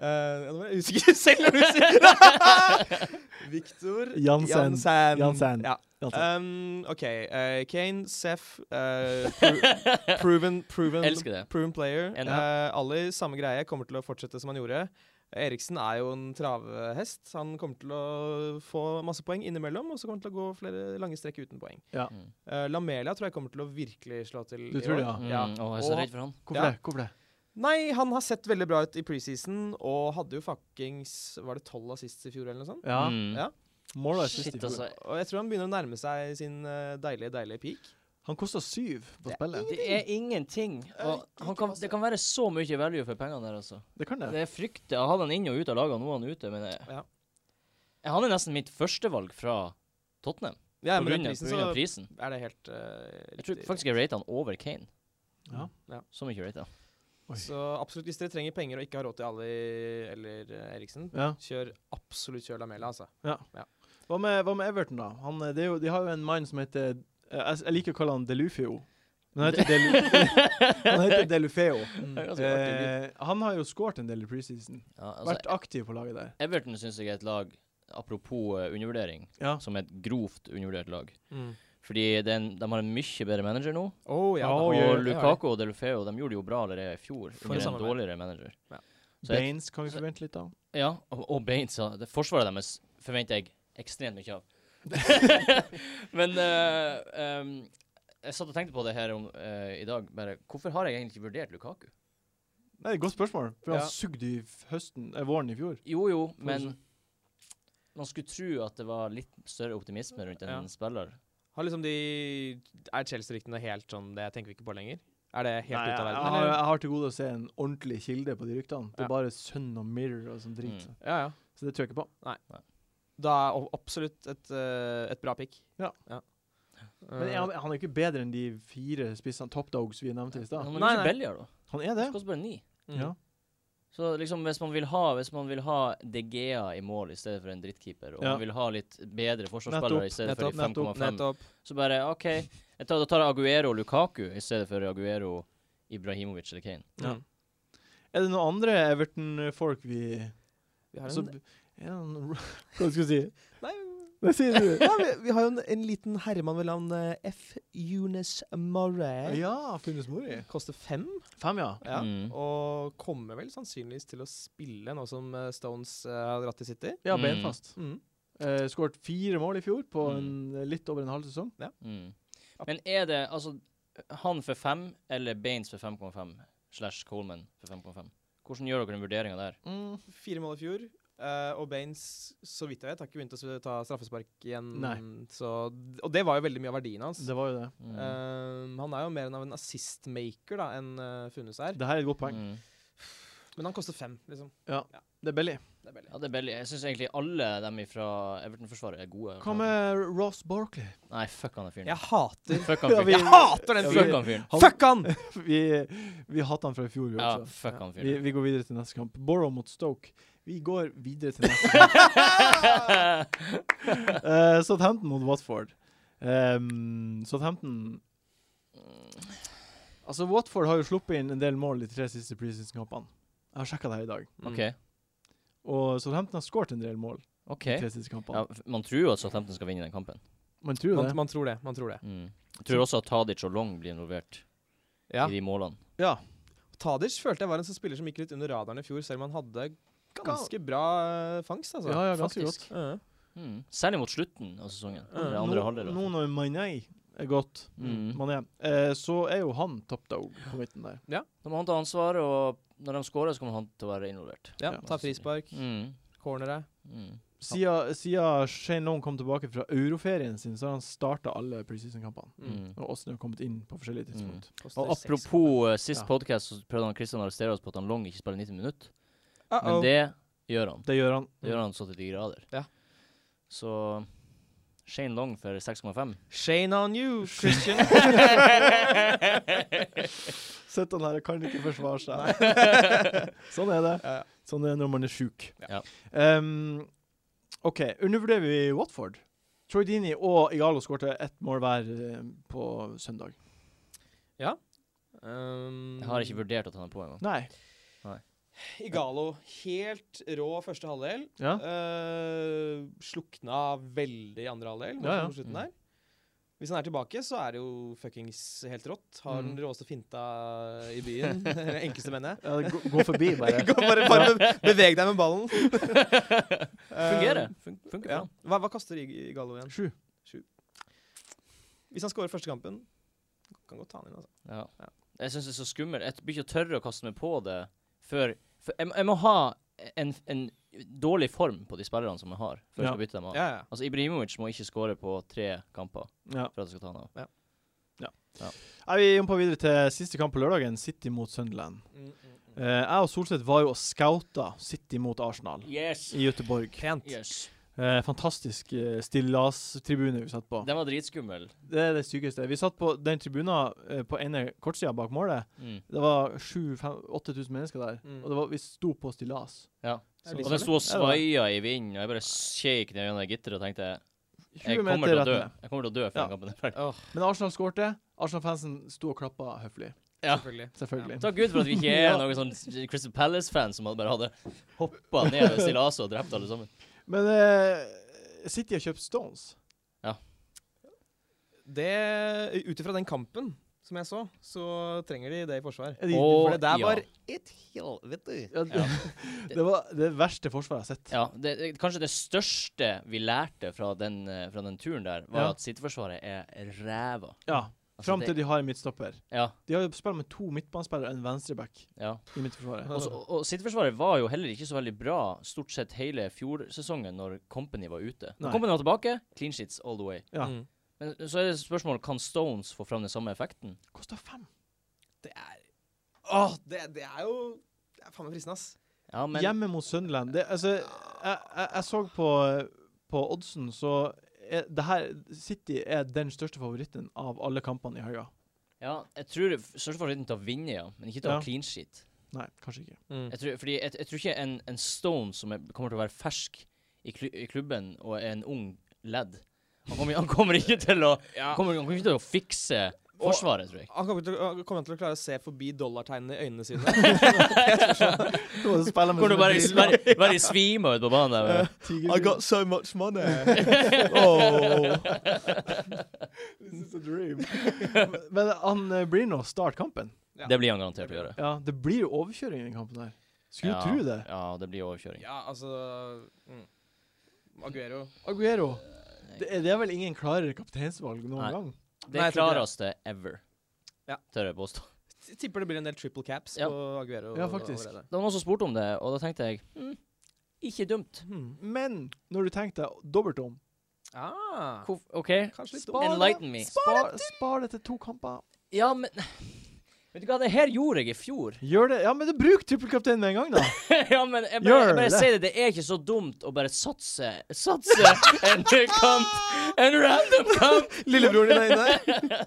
[SPEAKER 4] Eh, ja, nå var jeg usikker selv. når du sier Victor
[SPEAKER 1] Jansen.
[SPEAKER 4] Jansen.
[SPEAKER 1] Jansen.
[SPEAKER 4] Ja.
[SPEAKER 1] Jansen.
[SPEAKER 4] Um, OK. eh, Kane, Seff eh, pro proven, proven,
[SPEAKER 2] Elsker det.
[SPEAKER 4] proven player.
[SPEAKER 2] Enig.
[SPEAKER 4] Eh, Ali, samme greie, kommer til å fortsette som han gjorde. Eriksen er jo en travhest. Han kommer til å få masse poeng innimellom, og så kommer han til å gå flere lange strekk uten poeng.
[SPEAKER 1] Ja.
[SPEAKER 2] Mm.
[SPEAKER 4] Eh, Lamela tror jeg kommer til å virkelig slå til
[SPEAKER 1] Du
[SPEAKER 4] i
[SPEAKER 1] tror
[SPEAKER 4] år.
[SPEAKER 1] det, ja?
[SPEAKER 2] Mm. Å, jeg er så redd for han.
[SPEAKER 1] Hvorfor
[SPEAKER 4] Ja.
[SPEAKER 1] det? Hvorfor det?
[SPEAKER 4] Nei, han har sett veldig bra ut i preseason, og hadde jo fuckings Var det tolv assists i fjor, eller noe sånt?
[SPEAKER 1] Ja.
[SPEAKER 2] Mm.
[SPEAKER 4] Ja.
[SPEAKER 1] Målet er sist i
[SPEAKER 2] Shit,
[SPEAKER 1] fjor.
[SPEAKER 2] altså.
[SPEAKER 4] Og jeg tror han begynner å nærme seg sin eh, deilige, deilige peak.
[SPEAKER 1] Han kosta syv på spillet.
[SPEAKER 2] Det er ingenting. Og han kan, det kan være så mye value for pengene der, altså.
[SPEAKER 1] Det kan det.
[SPEAKER 2] Det er fryktelig. Jeg hadde han inn og ut av laget, og nå er han ute. Men jeg,
[SPEAKER 4] Ja.
[SPEAKER 2] jeg, han er nesten mitt førstevalg fra Tottenham.
[SPEAKER 4] Ja,
[SPEAKER 2] på
[SPEAKER 4] men
[SPEAKER 2] grunn
[SPEAKER 4] den
[SPEAKER 2] av, på
[SPEAKER 4] prisen,
[SPEAKER 2] grunn av
[SPEAKER 4] så
[SPEAKER 2] prisen.
[SPEAKER 4] er det helt eh,
[SPEAKER 2] Jeg tror
[SPEAKER 4] riktig.
[SPEAKER 2] faktisk jeg rater han over Kane.
[SPEAKER 1] Ja.
[SPEAKER 2] Så mye rater han.
[SPEAKER 1] Oi.
[SPEAKER 4] Så absolutt, hvis dere trenger penger og ikke har råd til Ali eller eh, Eriksen,
[SPEAKER 1] Ja.
[SPEAKER 4] kjør absolutt kjør Lamela, altså.
[SPEAKER 1] Hva, med, hva med Everton, da? Han, eh, det er jo, de har jo en mann som heter eh, Jeg, jeg liker å kalle han Delufeo. Men han heter, Delu, han heter Delufeo.
[SPEAKER 2] Det er ganske artig lyd.
[SPEAKER 1] Eh, han har jo skåret en del i preseason.
[SPEAKER 2] Ja, altså,
[SPEAKER 1] Vært aktiv på laget der.
[SPEAKER 2] Everton syns jeg er et lag, apropos eh, undervurdering,
[SPEAKER 1] Ja.
[SPEAKER 2] som er et grovt undervurdert lag.
[SPEAKER 4] Mm.
[SPEAKER 2] Fordi det er en, de har en mye bedre manager nå.
[SPEAKER 4] Oh, ja,
[SPEAKER 1] Ja,
[SPEAKER 4] da.
[SPEAKER 1] og
[SPEAKER 2] og
[SPEAKER 1] gjør-
[SPEAKER 2] Lukako og Delofeo de gjorde det jo bra allerede i fjor,
[SPEAKER 4] For
[SPEAKER 2] under en
[SPEAKER 4] samarbeid.
[SPEAKER 2] dårligere manager.
[SPEAKER 4] Ja.
[SPEAKER 2] Så jeg,
[SPEAKER 1] Baines kan vi forvente litt av.
[SPEAKER 2] ja, og, og Baines. ja. Det forsvaret deres forventer jeg ekstremt mye av. Men eh, em, jeg satt og tenkte på det her om, eh, i dag. Bare, hvorfor har jeg egentlig ikke vurdert Lukaku?
[SPEAKER 1] Nei, godt spørsmål. For
[SPEAKER 2] Ja.
[SPEAKER 1] han sugde i f- høsten, eh, våren i fjor.
[SPEAKER 2] Jo jo, men
[SPEAKER 1] Hvordan?
[SPEAKER 2] man skulle tro at det var litt større optimisme rundt en
[SPEAKER 4] Ja.
[SPEAKER 2] spiller.
[SPEAKER 4] Har liksom de Er Chelsea-ryktene helt sånn Det tenker vi ikke på lenger? Er det helt
[SPEAKER 1] Nei,
[SPEAKER 4] ute
[SPEAKER 1] jeg,
[SPEAKER 4] av
[SPEAKER 1] jeg,
[SPEAKER 4] verden?
[SPEAKER 1] har,
[SPEAKER 4] eller?
[SPEAKER 1] eh, jeg har til gode å se en ordentlig kilde på de ryktene. Det
[SPEAKER 4] Ja.
[SPEAKER 1] er bare Sun og Mirror og sånn drit.
[SPEAKER 2] Mm.
[SPEAKER 4] Ja, ja.
[SPEAKER 1] Så det tror jeg ikke på.
[SPEAKER 4] Da er o- absolutt et, eh, et bra pick.
[SPEAKER 1] Ja. Men
[SPEAKER 2] Mm.
[SPEAKER 4] Eh,
[SPEAKER 1] jeg, han er ikke bedre enn de fire spissene, top dogs, vi nevnte i stad.
[SPEAKER 2] Han er jo
[SPEAKER 4] Nei,
[SPEAKER 2] ikke
[SPEAKER 4] nei.
[SPEAKER 2] billigere, da.
[SPEAKER 1] Han er det.
[SPEAKER 2] Han koster bare ni.
[SPEAKER 4] mm.
[SPEAKER 1] Ja.
[SPEAKER 2] Så liksom, hvis man vil ha, hvis man vil ha DGA i mål i stedet for en drittkeeper, og
[SPEAKER 1] Ja.
[SPEAKER 2] man vil ha litt bedre forsvarsspillere i stedet
[SPEAKER 4] Nettopp,
[SPEAKER 2] for de 5,5
[SPEAKER 4] mm. Nettopp.
[SPEAKER 2] Så bare OK, jeg tar, da tar jeg Aguero og Lukaku i stedet for Aguero, Ibrahimovic eller Kane.
[SPEAKER 1] Ja.
[SPEAKER 4] Mm.
[SPEAKER 1] Er det noen andre Everton-folk vi
[SPEAKER 4] Vi har en,
[SPEAKER 1] så, er det noen, Hva skal du si?
[SPEAKER 4] Nei.
[SPEAKER 1] Hva sier du?
[SPEAKER 4] Nei, vi, vi har jo en, en liten herremann ved navn eh, F. Eunice Murray.
[SPEAKER 1] Ja, Funnes Mori.
[SPEAKER 4] Koster fem,
[SPEAKER 1] Fem, ja.
[SPEAKER 4] ja.
[SPEAKER 2] Mm.
[SPEAKER 4] og kommer vel sannsynligvis til å spille nå som eh, Stones eh, har dratt til City.
[SPEAKER 1] Ja,
[SPEAKER 2] Mm.
[SPEAKER 1] beinfast.
[SPEAKER 4] Mm.
[SPEAKER 1] Eh, Skåret fire mål i fjor på en, eh, litt over en halv sesong.
[SPEAKER 2] Mm. Men er det altså han for 5 eller Baines for 5,5 slash Coleman for 5,5? Hvordan gjør dere den vurderinga der?
[SPEAKER 4] Fire mål i fjor. eh, og Baines, så vidt jeg vet, har ikke begynt å s- ta straffespark igjen.
[SPEAKER 1] Nei.
[SPEAKER 4] Så, og det var jo veldig mye av verdien hans.
[SPEAKER 1] Det var jo det.
[SPEAKER 2] Mm.
[SPEAKER 4] Eh, han er jo mer enn av en assist-maker da, enn uh, Funnes er.
[SPEAKER 1] Det her er et godt poeng.
[SPEAKER 2] Mm.
[SPEAKER 4] Men han koster fem, liksom.
[SPEAKER 1] Det er billig.
[SPEAKER 4] Det er billig.
[SPEAKER 2] Ja, det er billig. Jeg syns egentlig alle dem fra Everton-forsvaret er gode.
[SPEAKER 1] Hva med Ross Barkley?
[SPEAKER 2] Nei, fuck han er fyren.
[SPEAKER 4] Jeg hater
[SPEAKER 2] Fuck han
[SPEAKER 1] Ja, vi-
[SPEAKER 2] fyren.
[SPEAKER 4] Jeg hater den
[SPEAKER 1] Ja, vi-
[SPEAKER 2] Fuck
[SPEAKER 4] fyren!
[SPEAKER 2] han fyren.
[SPEAKER 1] Han-
[SPEAKER 4] Fuck han!
[SPEAKER 1] Vi, vi hatet han fra i fjor, vi
[SPEAKER 2] Ja,
[SPEAKER 1] også.
[SPEAKER 2] fuck han
[SPEAKER 1] Vi,
[SPEAKER 2] fyren.
[SPEAKER 1] vi går videre til neste kamp. Borough mot Stoke. Vi går videre til neste kamp. Eh, Southampton mot Watford. Ehm, Southampton Altså, Watford har jo sluppet inn en del mål de tre siste preseason-kampene. Jeg har sjekka det her i dag.
[SPEAKER 2] OK.
[SPEAKER 4] Mm.
[SPEAKER 1] Og Southampton har skåret en del mål
[SPEAKER 2] ok.
[SPEAKER 1] de tre siste kampene.
[SPEAKER 2] Ja, f- man tror jo at Southampton skal vinne den kampen.
[SPEAKER 1] Man tror jo
[SPEAKER 4] Man,
[SPEAKER 1] det.
[SPEAKER 4] man tror det. Man tror det.
[SPEAKER 2] Mm. Jeg tror også at Tadic og Long blir involvert
[SPEAKER 4] Ja.
[SPEAKER 2] i de målene.
[SPEAKER 1] Ja.
[SPEAKER 4] Tadic følte jeg var en sånn spiller som gikk litt under radaren i fjor, selv om han hadde ganske bra eh, fangst, altså.
[SPEAKER 1] ja, ja, ganske
[SPEAKER 2] faktisk.
[SPEAKER 1] godt.
[SPEAKER 4] Ja.
[SPEAKER 2] Mm. Særlig mot slutten av sesongen.
[SPEAKER 4] Ja,
[SPEAKER 2] Det andre halvdel. i hvert
[SPEAKER 1] Nå
[SPEAKER 2] fall.
[SPEAKER 1] når Mané er godt,
[SPEAKER 2] Mm.
[SPEAKER 1] Mané, eh, så er jo han top dog på midten der.
[SPEAKER 2] Da må han ta ansvar, og når de scorer, så kommer han til å være involvert.
[SPEAKER 4] Ja,
[SPEAKER 1] Ja.
[SPEAKER 4] ta frispark,
[SPEAKER 2] Mm.
[SPEAKER 4] cornere.
[SPEAKER 2] Mm.
[SPEAKER 1] Siden, siden Shane Long kom tilbake fra euroferien sin, så har han starta alle preseason-kampene.
[SPEAKER 2] Mm.
[SPEAKER 1] Og Åsne har kommet inn på forskjellige tidspunkt.
[SPEAKER 4] Koster
[SPEAKER 2] Og
[SPEAKER 4] seks.
[SPEAKER 2] apropos eh, sist
[SPEAKER 1] Ja.
[SPEAKER 2] podcast, så prøvde han Christian å arrestere oss på at han Long ikke spiller 90 minutter. Men
[SPEAKER 4] Uh-oh.
[SPEAKER 2] det gjør han.
[SPEAKER 1] Det gjør han.
[SPEAKER 2] Det gjør han så til de grader.
[SPEAKER 4] Ja.
[SPEAKER 2] Så Shane Long for 6,5.
[SPEAKER 4] Shane on you, Christian.
[SPEAKER 1] Sitter han her og kan ikke forsvare seg. sånn er det.
[SPEAKER 4] Ja.
[SPEAKER 1] Sånn er det når man er sjuk.
[SPEAKER 2] Ja.
[SPEAKER 1] Ehm, OK, undervurderer vi Watford? Troy Dini og Igalo skårte ett mål hver eh, på søndag.
[SPEAKER 4] um,
[SPEAKER 2] Jeg har ikke vurdert at han er på engang.
[SPEAKER 1] Nei.
[SPEAKER 4] Igalo, helt rå første halvdel.
[SPEAKER 1] Ja.
[SPEAKER 4] Eh, slukna veldig i andre halvdel. mot
[SPEAKER 1] Ja, ja.
[SPEAKER 4] slutten
[SPEAKER 2] Mm.
[SPEAKER 4] der. Hvis han er tilbake, så er det jo fuckings helt rått. Har den
[SPEAKER 1] Mm.
[SPEAKER 4] råeste finta i byen. Den enkleste, mener jeg.
[SPEAKER 1] Ja, det gå, gå forbi, bare.
[SPEAKER 4] Gå, bare bare be beveg deg med ballen.
[SPEAKER 2] Fungerer. Fun
[SPEAKER 4] Eh,
[SPEAKER 2] funker
[SPEAKER 4] ja.
[SPEAKER 2] bra.
[SPEAKER 4] hva, hva koster Ig- Igalo igjen?
[SPEAKER 1] Sju.
[SPEAKER 4] Hvis han scorer første kampen, kan godt ta han inn. altså.
[SPEAKER 2] Ja.
[SPEAKER 4] Ja.
[SPEAKER 2] Jeg syns det er så skummelt. Jeg blir ikke tørre å kaste meg på det før for jeg, må- jeg må ha en, en dårlig form på de spillerne som jeg har, før jeg
[SPEAKER 1] Ja.
[SPEAKER 2] skal bytte dem av.
[SPEAKER 4] Ja, ja.
[SPEAKER 2] Altså Ibrahimovic må ikke skåre på tre kamper
[SPEAKER 1] Ja.
[SPEAKER 2] for at jeg skal ta han av.
[SPEAKER 1] Nei, vi jumper videre til siste kamp på lørdagen, City mot Sunderland.
[SPEAKER 4] Mm,
[SPEAKER 1] Eh, jeg og Solseth var jo og scouta City mot Arsenal
[SPEAKER 2] Yes.
[SPEAKER 1] i Göteborg.
[SPEAKER 4] Pent.
[SPEAKER 1] Eh, fantastisk eh, stillastribune vi satt på.
[SPEAKER 2] Den var dritskummel.
[SPEAKER 1] Det er det sykeste. Vi satt på den tribunen eh, på ene kortsida bak målet.
[SPEAKER 2] Mm.
[SPEAKER 1] Det var 7000-8000 mennesker der,
[SPEAKER 4] Mm.
[SPEAKER 1] og det var, vi sto på stillas.
[SPEAKER 2] Ja.
[SPEAKER 4] Det er
[SPEAKER 2] Og
[SPEAKER 4] litt
[SPEAKER 2] den
[SPEAKER 4] farlig.
[SPEAKER 2] sto og
[SPEAKER 1] Ja, det var-
[SPEAKER 2] svaia i vinden, og jeg bare kjekk ned gjennom det gitteret og tenkte
[SPEAKER 1] 20
[SPEAKER 2] jeg kommer
[SPEAKER 1] meter
[SPEAKER 2] til å
[SPEAKER 1] rett
[SPEAKER 2] dø.
[SPEAKER 1] ned.
[SPEAKER 2] Jeg kommer til å dø før
[SPEAKER 1] Ja.
[SPEAKER 2] den kampen er ferdig.
[SPEAKER 1] Men Arsenal skårte. Arsenal-fansen sto og klappa høflig.
[SPEAKER 2] Ja.
[SPEAKER 4] Selvfølgelig.
[SPEAKER 1] Selvfølgelig.
[SPEAKER 2] Takk Gud for at vi ikke er noen sånn Crystal Palace-fans som hadde bare hadde hoppa ned ved stillaset og drept alle sammen.
[SPEAKER 1] Men eh, City har kjøpt Stones.
[SPEAKER 4] Det, ut ifra den kampen, som jeg så, så trenger de det i forsvar.
[SPEAKER 1] Er de-
[SPEAKER 2] Og-
[SPEAKER 4] For det der
[SPEAKER 2] ja.
[SPEAKER 4] var et helvete.
[SPEAKER 1] Ja, det,
[SPEAKER 2] Ja.
[SPEAKER 1] det var det verste forsvaret jeg har sett.
[SPEAKER 2] Ja, det, det, kanskje det største vi lærte fra den, eh, fra den turen der, var
[SPEAKER 1] Ja.
[SPEAKER 2] at sittforsvaret er ræva.
[SPEAKER 1] Ja.
[SPEAKER 2] Altså,
[SPEAKER 1] Fram
[SPEAKER 2] det-
[SPEAKER 1] til de har en midtstopper.
[SPEAKER 2] Ja,
[SPEAKER 1] De har jo spilt med to midtbanespillere og en venstreback
[SPEAKER 2] ja.
[SPEAKER 1] i midtforsvaret.
[SPEAKER 2] Og, så- og- og sittforsvaret var jo heller ikke så veldig bra stort sett hele fjorsesongen når Company var ute. Når
[SPEAKER 1] Nei.
[SPEAKER 2] Company var tilbake, clean sheets all the way.
[SPEAKER 1] Ja.
[SPEAKER 4] Mm.
[SPEAKER 2] Men eh, så er det spørsmålet, kan Stones få fram den samme effekten?
[SPEAKER 1] Kosta fem.
[SPEAKER 4] Det er Åh, det, det er jo Det er faen meg fristende, ass.
[SPEAKER 2] Ja, men
[SPEAKER 1] Hjemme mot Sunderland det, altså, jeg, jeg, jeg så på, på oddsen, så er, det her, City er den største favoritten av alle kampene i helga.
[SPEAKER 2] ja, jeg tror det f- største favoritten til å vinne, ja, men ikke til å
[SPEAKER 1] Ja.
[SPEAKER 2] ha clean sheet.
[SPEAKER 1] Nei, kanskje ikke.
[SPEAKER 4] Mm.
[SPEAKER 2] Jeg tror, fordi jeg, jeg tror ikke en, en Stone som er, kommer til å være fersk i, klu- i klubben og er en ung lad han kommer, han kommer ikke til å
[SPEAKER 4] Ja.
[SPEAKER 2] kommer, han kommer ikke til å fikse
[SPEAKER 4] Og-
[SPEAKER 2] Forsvaret, tror jeg.
[SPEAKER 4] Han kommer til, å- kommer til å klare å se forbi dollartegnene i øynene sine.
[SPEAKER 2] Kommer til å bare, bare, bare svime ut på banen der.
[SPEAKER 1] I got
[SPEAKER 4] so much money. oh.
[SPEAKER 1] This is a dream. Men han eh, blir nå start kampen.
[SPEAKER 4] Ja.
[SPEAKER 2] Det blir han garantert å gjøre.
[SPEAKER 1] Ja, det blir jo overkjøring i den kampen her. Skulle
[SPEAKER 2] ja,
[SPEAKER 1] tro det.
[SPEAKER 2] Ja, det blir overkjøring.
[SPEAKER 4] Ja, altså mm. Aguero.
[SPEAKER 1] Aguero. Det er, det er vel ingen klarere kapteinsvalg noen
[SPEAKER 2] Nei.
[SPEAKER 1] gang?
[SPEAKER 2] Det
[SPEAKER 4] Nei,
[SPEAKER 2] er
[SPEAKER 4] jeg tror ikke
[SPEAKER 2] klareste ever,
[SPEAKER 4] Ja.
[SPEAKER 2] tør jeg påstå.
[SPEAKER 4] T- Tipper det blir en del triple caps
[SPEAKER 2] Ja.
[SPEAKER 4] på Aguero.
[SPEAKER 1] Ja, faktisk.
[SPEAKER 4] allerede.
[SPEAKER 2] Det var noen som spurte om det, og da tenkte jeg hm, ikke dumt.
[SPEAKER 1] Mm. Men når du tenker deg dobbelt om
[SPEAKER 4] Ah.
[SPEAKER 2] Hvorf- OK,
[SPEAKER 4] Kanskje litt
[SPEAKER 1] Spar det.
[SPEAKER 2] enlighten me.
[SPEAKER 1] Spar, spar det til to kamper.
[SPEAKER 2] Ja, men Vet du hva, det her gjorde jeg i fjor.
[SPEAKER 1] Gjør det. Ja, men da bruk trippelkapteinen med en gang, da.
[SPEAKER 2] ja, men jeg bare,
[SPEAKER 1] Gjør
[SPEAKER 2] jeg bare
[SPEAKER 1] det.
[SPEAKER 2] sier det, det er ikke så dumt å bare satse Satse en kamp! En random kamp!
[SPEAKER 4] Lillebroren din er inne.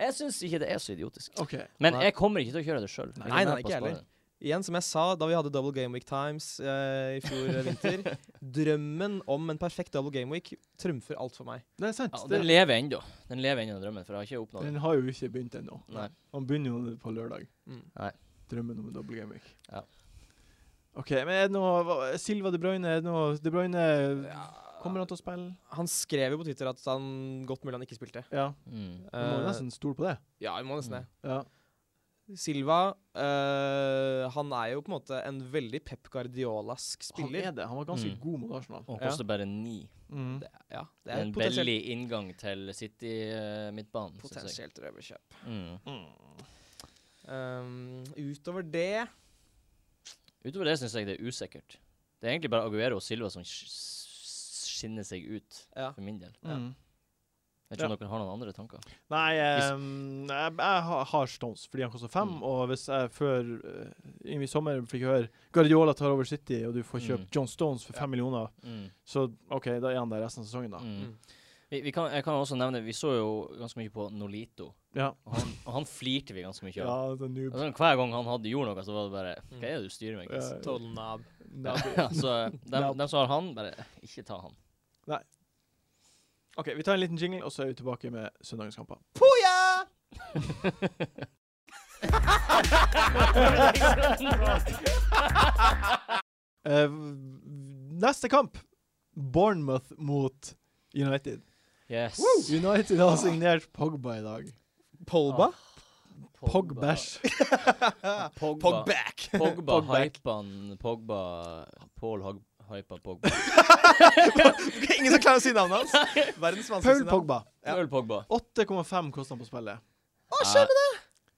[SPEAKER 2] Jeg syns ikke det er så idiotisk.
[SPEAKER 1] OK.
[SPEAKER 2] Men
[SPEAKER 4] Nei.
[SPEAKER 2] jeg kommer ikke til å kjøre det sjøl.
[SPEAKER 4] Nei, nei, ikke heller. Igjen, som jeg sa da vi hadde Double Game Week Times eh, i fjor eh, vinter Drømmen om en perfekt Double Game Week trumfer alt for meg.
[SPEAKER 1] Det er sant.
[SPEAKER 2] Ja, og
[SPEAKER 1] det,
[SPEAKER 2] den lever ennå. Den lever ennå, den drømmen, for jeg har ikke oppnådd den.
[SPEAKER 1] den har jo ikke begynt ennå.
[SPEAKER 2] Nei.
[SPEAKER 1] Han begynner jo på lørdag.
[SPEAKER 4] Mm.
[SPEAKER 1] Drømmen om en dobbel gameweek.
[SPEAKER 2] Ja.
[SPEAKER 1] OK, men er det noe hva- Silva de Bruyne er det noe De Bruyne Kommer han til å spille?
[SPEAKER 4] Han skrev jo på Twitter at han godt mulig han ikke spilte.
[SPEAKER 1] Ja.
[SPEAKER 2] Mm.
[SPEAKER 1] Du må jo
[SPEAKER 4] Eh,
[SPEAKER 1] nesten Mm. stole på det.
[SPEAKER 4] ja, vi må nesten det.
[SPEAKER 1] Ja.
[SPEAKER 4] Silva eh, han er jo på en måte en veldig Pep Guardiolask
[SPEAKER 1] Han
[SPEAKER 4] spiller.
[SPEAKER 1] er det. Han var ganske
[SPEAKER 2] Mm.
[SPEAKER 1] god mot Arsenal.
[SPEAKER 2] Og
[SPEAKER 4] Ja.
[SPEAKER 2] koster bare ni.
[SPEAKER 1] Mm.
[SPEAKER 4] Det, ja, det
[SPEAKER 2] Det
[SPEAKER 4] er
[SPEAKER 2] er en
[SPEAKER 4] potensielt,
[SPEAKER 2] veldig inngang til eh, City-midtbanen.
[SPEAKER 4] potensielt røverkjøp.
[SPEAKER 2] Mm.
[SPEAKER 4] Um, utover det
[SPEAKER 2] Utover det syns jeg det er usikkert. Det er egentlig bare Aguero og Silva som sk- s- skinner seg ut,
[SPEAKER 4] ja.
[SPEAKER 2] for min del.
[SPEAKER 4] Ja.
[SPEAKER 1] Mm.
[SPEAKER 2] Jeg vet ikke om dere har noen andre tanker.
[SPEAKER 1] Nei, ehm, jeg, jeg har- har Stones fordi han koster fem.
[SPEAKER 2] Mm.
[SPEAKER 1] Og hvis jeg før eh, i sommer fikk høre Guardiola tar over City, og du får kjøpt
[SPEAKER 2] Mm.
[SPEAKER 1] John Stones for fem millioner,
[SPEAKER 2] Mm.
[SPEAKER 1] så OK, da er han der resten av sesongen, da.
[SPEAKER 2] Mm.
[SPEAKER 4] Mm.
[SPEAKER 2] Vi, vi kan, jeg kan også nevne Vi så jo ganske mye på Nolito,
[SPEAKER 1] Ja.
[SPEAKER 2] og han, og han flirte vi ganske mye av.
[SPEAKER 1] Ja, det er noob.
[SPEAKER 2] Altså, hver gang han hadde gjorde noe, så var det bare Hva er det du styrer med? Chris?»
[SPEAKER 1] Ja.
[SPEAKER 4] Total knob.
[SPEAKER 1] Nei.
[SPEAKER 2] Ja, så dem, dem som har han, bare ikke ta han.
[SPEAKER 1] OK, vi tar en liten jingle, og så er vi tilbake med søndagens kamper.
[SPEAKER 4] Poja!
[SPEAKER 1] Eh, neste kamp! Bournemouth mot United.
[SPEAKER 2] Yes.
[SPEAKER 1] United har signert Pogba i dag.
[SPEAKER 4] Polba?
[SPEAKER 2] Ah,
[SPEAKER 1] Pogbæsj.
[SPEAKER 2] Pogba.
[SPEAKER 4] Pogback!
[SPEAKER 2] Pogba
[SPEAKER 1] Pogba.
[SPEAKER 2] hypa han Pogba Paul Hag hypa Pogba.
[SPEAKER 4] Ingen som klarer å si navnet hans. Verdens
[SPEAKER 1] Paul
[SPEAKER 4] vanskeligste navn.
[SPEAKER 1] Pogba.
[SPEAKER 2] Ja. Pogba.
[SPEAKER 1] 8,5 koster han på spillet.
[SPEAKER 2] Å, skjønner det!